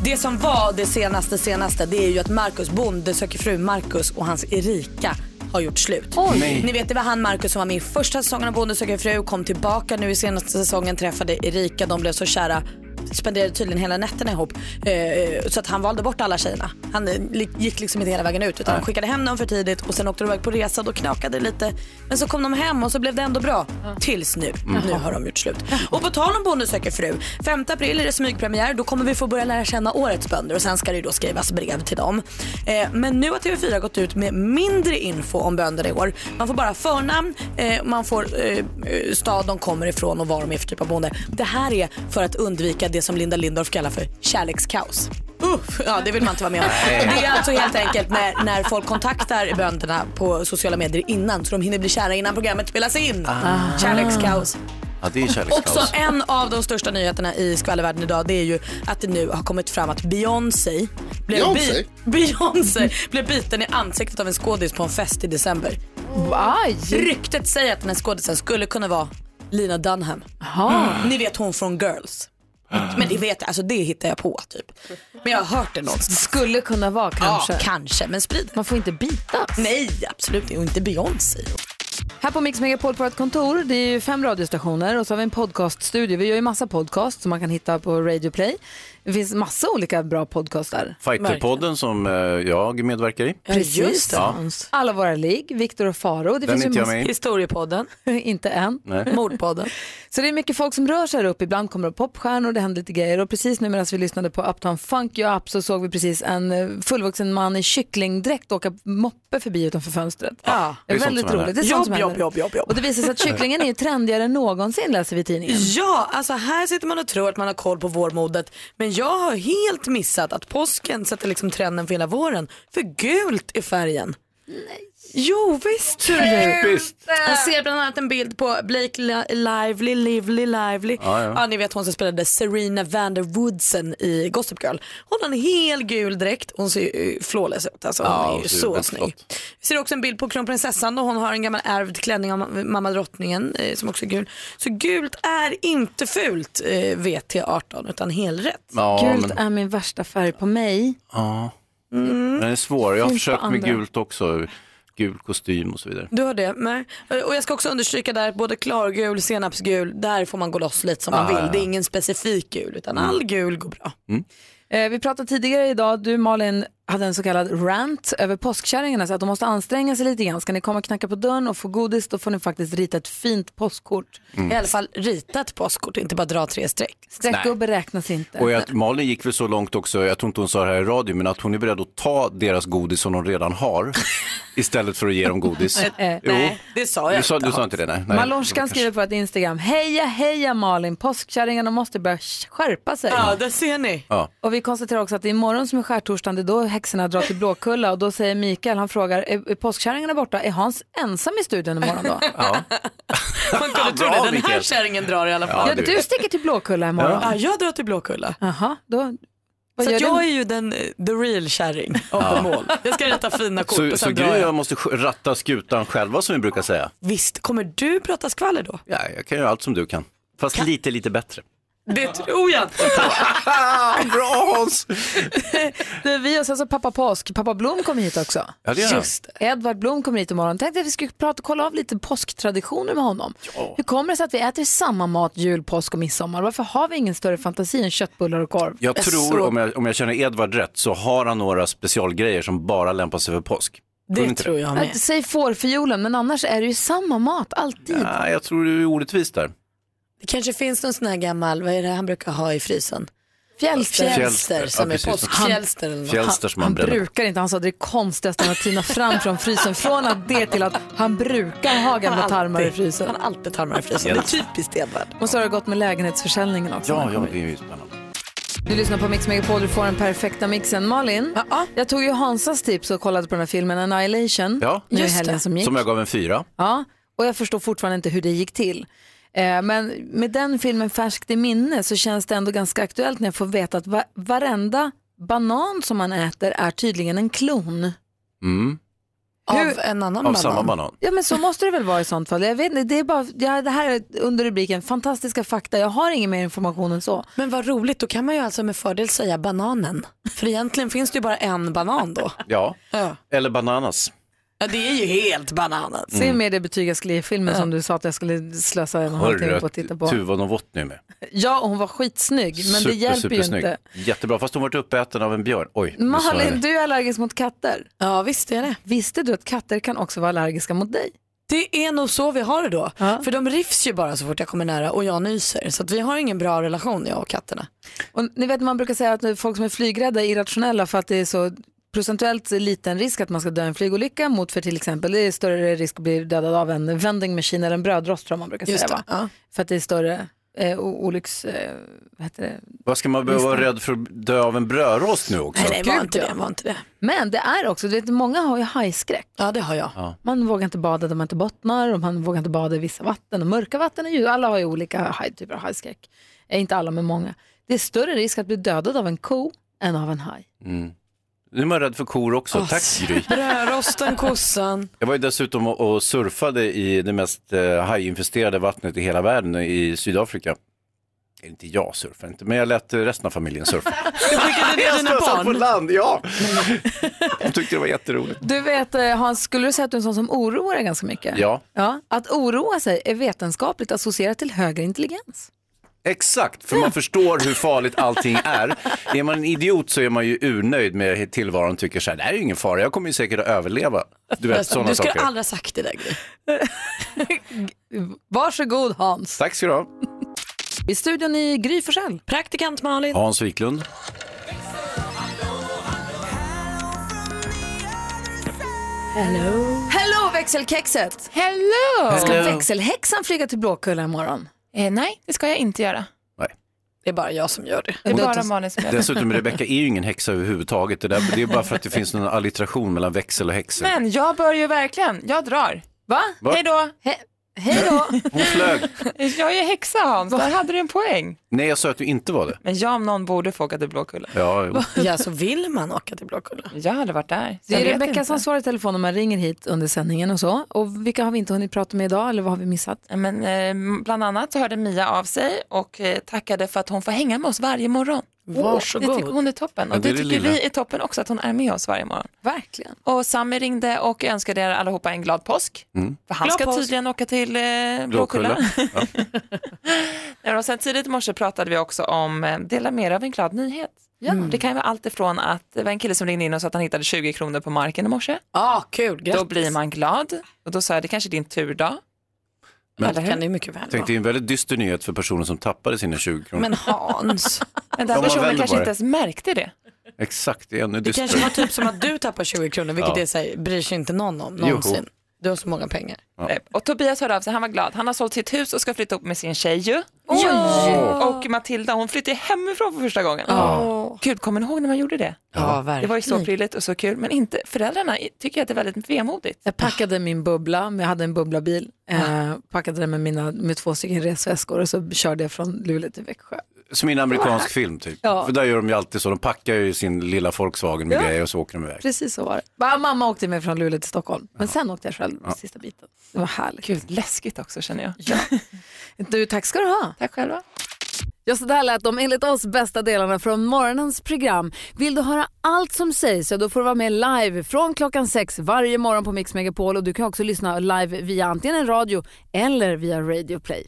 Det som var det senaste senaste det är ju att Marcus Bonde söker fru Marcus och hans Erika har gjort slut. Oj. Nej. Ni vet det var han Marcus som var med i första säsongen av Bonde söker fru, kom tillbaka nu i senaste säsongen, träffade Erika, de blev så kära. Spenderade tydligen hela nätterna ihop. Eh, så att han valde bort alla tjejerna. Han eh, li- gick liksom inte hela vägen ut utan han skickade hem dem för tidigt och sen åkte de iväg på resa och knakade det lite. Men så kom de hem och så blev det ändå bra. Tills nu. Nu har de gjort slut. Och på tal om Bonde söker fru. 5 april är det smygpremiär. Då kommer vi få börja lära känna årets bönder och sen ska det ju då skrivas brev till dem. Eh, men nu har TV4 gått ut med mindre info om bönderna i år. Man får bara förnamn, eh, man får eh, eh, stad de kommer ifrån och vad de är för typ av bonde. Det här är för att undvika det som Linda Lindorff kallar för kärlekskaos. Uff, ja, det vill man inte vara med om. Nej. Det är alltså helt enkelt när, när folk kontaktar bönderna på sociala medier innan så de hinner bli kära innan programmet spelas in. Ah. Kärlekskaos. Ja, det är kärlekskaos. Också en av de största nyheterna i skvallervärlden idag det är ju att det nu har kommit fram att Beyoncé blev, Beyoncé? bi- Beyoncé blev biten i ansiktet av en skådis på en fest i december. Aj. Ryktet säger att den här skådisen skulle kunna vara Lina Dunham. Mm. Ni vet hon från Girls. Men det vet jag, alltså det hittar jag på typ. Men jag har hört det någonstans. Skulle kunna vara kanske. Ja, kanske. Men sprid Man får inte bitas. Nej, absolut inte. Och inte Beyoncé. Här på Mix Megapol på vårt kontor, det är ju fem radiostationer och så har vi en podcaststudio. Vi gör ju massa podcast som man kan hitta på Radio Play. Det finns massa olika bra podcastar. Fighterpodden som eh, jag medverkar i. Ja. Alla våra ligg, Viktor och Faro. Den är inte jag med i. Historiepodden. inte än. Nej. Mordpodden. Så det är mycket folk som rör sig här uppe. Ibland kommer det popstjärnor, det händer lite grejer. Och precis nu medan vi lyssnade på Uptown Funk You Up så såg vi precis en eh, fullvuxen man i kycklingdräkt åka moppe förbi utanför fönstret. Ja, det är sånt väldigt som roligt. Det är händer. sånt som Jobb, jobb, händer. jobb, jobb, jobb. Och det visar sig att kycklingen är ju trendigare än någonsin läser vi i tidningen. Ja, alltså här sitter man och tror att man har koll på vårmodet. Men jag har helt missat att påsken sätter liksom trenden för hela våren. För gult är färgen. Jo visst tror du. Typiskt. Jag ser bland annat en bild på Blake Li- Lively, Lively, Lively. Ja, ja. ni vet hon som spelade Serena Vanderwoodsen i Gossip Girl. Hon har en hel gul dräkt. Hon ser ju eh, flawless ut. Alltså, Ja, hon är hon ju ser så väldigt snygg. flott. Vi ser också en bild på kronprinsessan och hon har en gammal ärvd klänning av ma- mamma drottningen eh, som också är gul. Så gult är inte fult eh, VT18 utan helrätt. Ja, Gult men- är min värsta färg på mig. Ja. Den är svår. Jag har Mm. Finns på försökt med andra. gult också. Gul kostym och så vidare. Du har det med. Och jag ska också understryka där att både klargul, senapsgul, där får man gå loss lite som Ah, man vill. ja, ja. Det är ingen specifik gul utan Mm. all gul går bra. Eh, vi pratade tidigare idag, du Malin hade en så kallad rant över påskkärringarna så att de måste anstränga sig lite grann. Ska ni komma och knacka på dörren och få godis då får ni faktiskt rita ett fint påskkort. Mm. I alla fall rita ett påskkort, inte bara dra tre streck. Streckgubbe räknas inte. Och att Malin gick väl så långt också, jag tror inte hon sa det här i radio, men att hon är beredd att ta deras godis som de redan har istället för att ge dem godis. Nej, jo, nej, det sa jag du sa, inte, du sa Hans. inte det, nej. nej. Malorskan skriver på ett Instagram, heja heja Malin, påskkärringarna måste börja skärpa sig. Ja, där ser ni. Ja. Och vi konstaterar också att det är imorgon som är skärtorsdagen, det är då häxorna drar till Blåkulla och då säger Mikael, han frågar, är är påskkärringarna borta? Är Hans ensam i studion imorgon då? Ja. Man kunde tro Bra, det, den här Mikael. kärringen drar i alla fall. Ja, du sticker till Blåkulla imorgon. Ja, jag drar till Blåkulla. Jaha, då... Vad Så gör att jag du? är ju den, eh, the real kärring av Ja. the mall. Jag ska rita fina kort Så, och så sen Gry drar och jag. jag måste sk- ratta skutan själva som vi brukar säga. Visst, kommer du prata skvaller då? Ja, jag kan göra allt som du kan, fast lite, lite bättre. Det tror jag inte Bra Hans! Det är vi och sen så pappa Påsk, pappa Blom kommer hit också. Ja, det gör han. Just det. Edvard Blom kommer hit imorgon. Tänkte att vi skulle prata, kolla av lite påsktraditioner med honom. Hur kommer det sig att vi äter samma mat jul, påsk och midsommar? Varför har vi ingen större fantasi än köttbullar och korv? Jag tror, om jag, om jag känner Edvard rätt, så har han några specialgrejer som bara lämpar sig för påsk. du inte Att, Äh, säg fårfiolen, men annars är det ju samma mat alltid. Nej, jag tror du är orättvis där. Det kanske finns någon sån här gammal, vad är det han brukar ha i frysen? Fjälster. Fjälster som Ja, är precis. påskfjälster eller något. Fjälster som man Han bränner. brukar inte, han sa det är konstigt att tina fram från frysen. Från att det till att han brukar ha gamla Han tarmar i alltid- frysen. Han har alltid tarmar i frysen, det är typiskt Edvard. Och så har det gått med lägenhetsförsäljningen också. Ja, ja, det är ju spännande. Du lyssnar på Mix Megapol, du får den perfekta mixen. Malin, jag tog ju Hansas tips och kollade på den här filmen Annihilation Ja, nu i helgen som gick. Som jag gav en fyra. Ja, och jag förstår fortfarande inte hur det gick till. Eh, Men med den filmen färskt i minne så känns det ändå ganska aktuellt när jag får veta att va- varenda banan som man äter är tydligen en klon. Mm. Hur? Av en annan Av banan. samma banan. Ja men så måste det väl vara i sånt fall. Jag vet inte, det, är bara, ja, det här är under rubriken fantastiska fakta. Jag har ingen mer information än så. Men vad roligt, då kan man ju alltså med fördel säga bananen. För egentligen finns det ju bara en banan då. Ja. Ja. Eller bananas. Ja, det är ju helt bananen. Mm. Se mer det betyg jag skulle ge filmen som du sa att jag skulle slösa en och en halv timme på att titta på. Tuva Novotny är med. Ja, och hon var skitsnygg, men det hjälper ju inte. Jättebra, fast hon varit uppäten av en björn. Oj, nu sa jag Malin, det. du är allergisk mot katter. Ja, visst är det. Visste du att katter kan också vara allergiska mot dig? Det är nog så vi har det då. För de rivs ju bara så fort jag kommer nära och jag nyser. Så att vi har ingen bra relation jag och katterna. Och ni vet man brukar säga att folk som är flygrädda är irrationella för att det är så procentuellt liten risk att man ska dö i en flygolycka mot för till exempel det är större risk att bli dödad av en vending machine eller en brödrost tror jag man brukar Just säga. det, Va? För att det är större eh, o- olycks... Eh, vad heter det? Vad ska man behöva vara Visst. rädd för att dö av en brödrost nu också? Nej, var inte det, var inte det. Men det är också, du vet, många har ju hajskräck. Ja, det har jag. Ja. Man vågar inte bada där man inte bottnar och man vågar inte bada i vissa vatten och mörka vatten. Är ju, alla har ju olika haj, typer av hajskräck. Eh, inte alla, men många. Det är större risk att bli dödad av en ko än av en haj. Mm. Nu är man rädd för kor också. Tack Gry. Brödrosten, kossan. Jag var ju dessutom och- och surfade i det mest eh, hajinfesterade vattnet i hela världen i eh, Sydafrika. Inte jag surfar inte, men jag lät eh, resten av familjen surfa. Du skickade ner dina På barn. Mm. land, ja. De tyckte det var jätteroligt. Du vet eh, Hans, skulle du säga att du är en sån som oroar dig ganska mycket? Ja. ja. Att oroa sig är vetenskapligt associerat till högre intelligens. Exakt, för man förstår hur farligt allting är. Är man en idiot så är man ju urnöjd med tillvaron och tycker så här, det här är ju ingen fara, jag kommer ju säkert att överleva. Du vet, sådana du skulle saker. aldrig ha sagt det där Gry. Varsågod Hans. Tack ska du ha. I studion i Gry Forssell. Praktikant Malin. Hans Wiklund. Hello. Hello växelkexet. Hello. Ska Hello. växelhäxan flyga till Blåkulla imorgon? nej, det ska jag inte göra. Nej. Det är bara jag som gör det. Det är bara Malin som gör det. Dessutom, Rebecka är ju ingen häxa överhuvudtaget. Det, där, det är bara för att det finns någon allitteration mellan växel och häxa. Men jag bör ju verkligen, jag drar. Va? Va? Hej då. Hej då. Hon flög. jag är häxa Hans, där hade du en poäng. Nej, jag sa att du inte var det. Men jag om någon borde få åka till Blåkulla. Ja, jo. Ja, så vill man åka till Blåkulla? Jag hade varit där. så Det är jag vet Rebecka inte. som svarar i telefon om man ringer hit under sändningen och så. Och vilka har vi inte hunnit prata med idag eller vad har vi missat? Men, eh, bland annat så hörde Mia av sig och eh, tackade för att hon får hänga med oss varje morgon. Varsågod. Det tycker hon är toppen och Ja, det, det är det tycker lilla. vi är toppen också att hon är med oss varje morgon. Verkligen. Och Sami ringde och önskade er allihopa en glad påsk. Mm. För han Glad ska påsk. tydligen åka till eh, Blåkulla. Ja, och sen tidigt i morse pratade vi också om eh, dela med er av en glad nyhet. Mm. Det kan ju vara allt ifrån att det var en kille som ringde in och sa att han hittade 20 kronor på marken i morse. Ah, kul, Då blir man glad och då sa jag det kanske är din tur idag. Men- Eller hur? Kan det mycket väl Tänk, det är en väldigt dyster nyhet för personen som tappade sina 20 kronor. Men Hans. Men den Om man personen vänder kanske på inte det. ens märkte det. Exakt, det är ännu Det kanske dystrare. var typ som att du tappar 20 kronor, vilket Ja. är så här, bryr sig inte någon om Joho. någonsin. Du har så många pengar. Eh, Och Tobias hörde av sig, han var glad. Han har sålt sitt hus och ska flytta upp med sin tjej ju. Oj! Ja. Och Matilda, hon flyttade hemifrån för första gången. Ja. Gud, kommer ni ihåg när man gjorde det? Ja, Det var ju så verkligen. prilligt och så kul, men inte, föräldrarna tycker att det är väldigt vemodigt. Jag packade min bubbla, men jag hade en bubblabil. Eh, packade den med, mina, med två stycken resväskor och så körde jag från Luleå till Växjö. Som i en amerikansk film typ. Ja. För där gör de ju alltid så, de packar ju sin lilla Volkswagen med Ja. grejer och så åker de iväg. Precis så var det. Bara Mamma åkte med från Luleå till Stockholm, men sen åkte jag själv Ja. sista biten. Det var härligt. Gud, läskigt också känner jag. Du, tack ska du ha. Tack själva. Ja, så där lät de enligt oss bästa delarna från morgonens program. Vill du höra allt som sägs så då får du vara med live från klockan sex varje morgon på Mix Megapol och du kan också lyssna live via antingen en radio eller via Radio Play.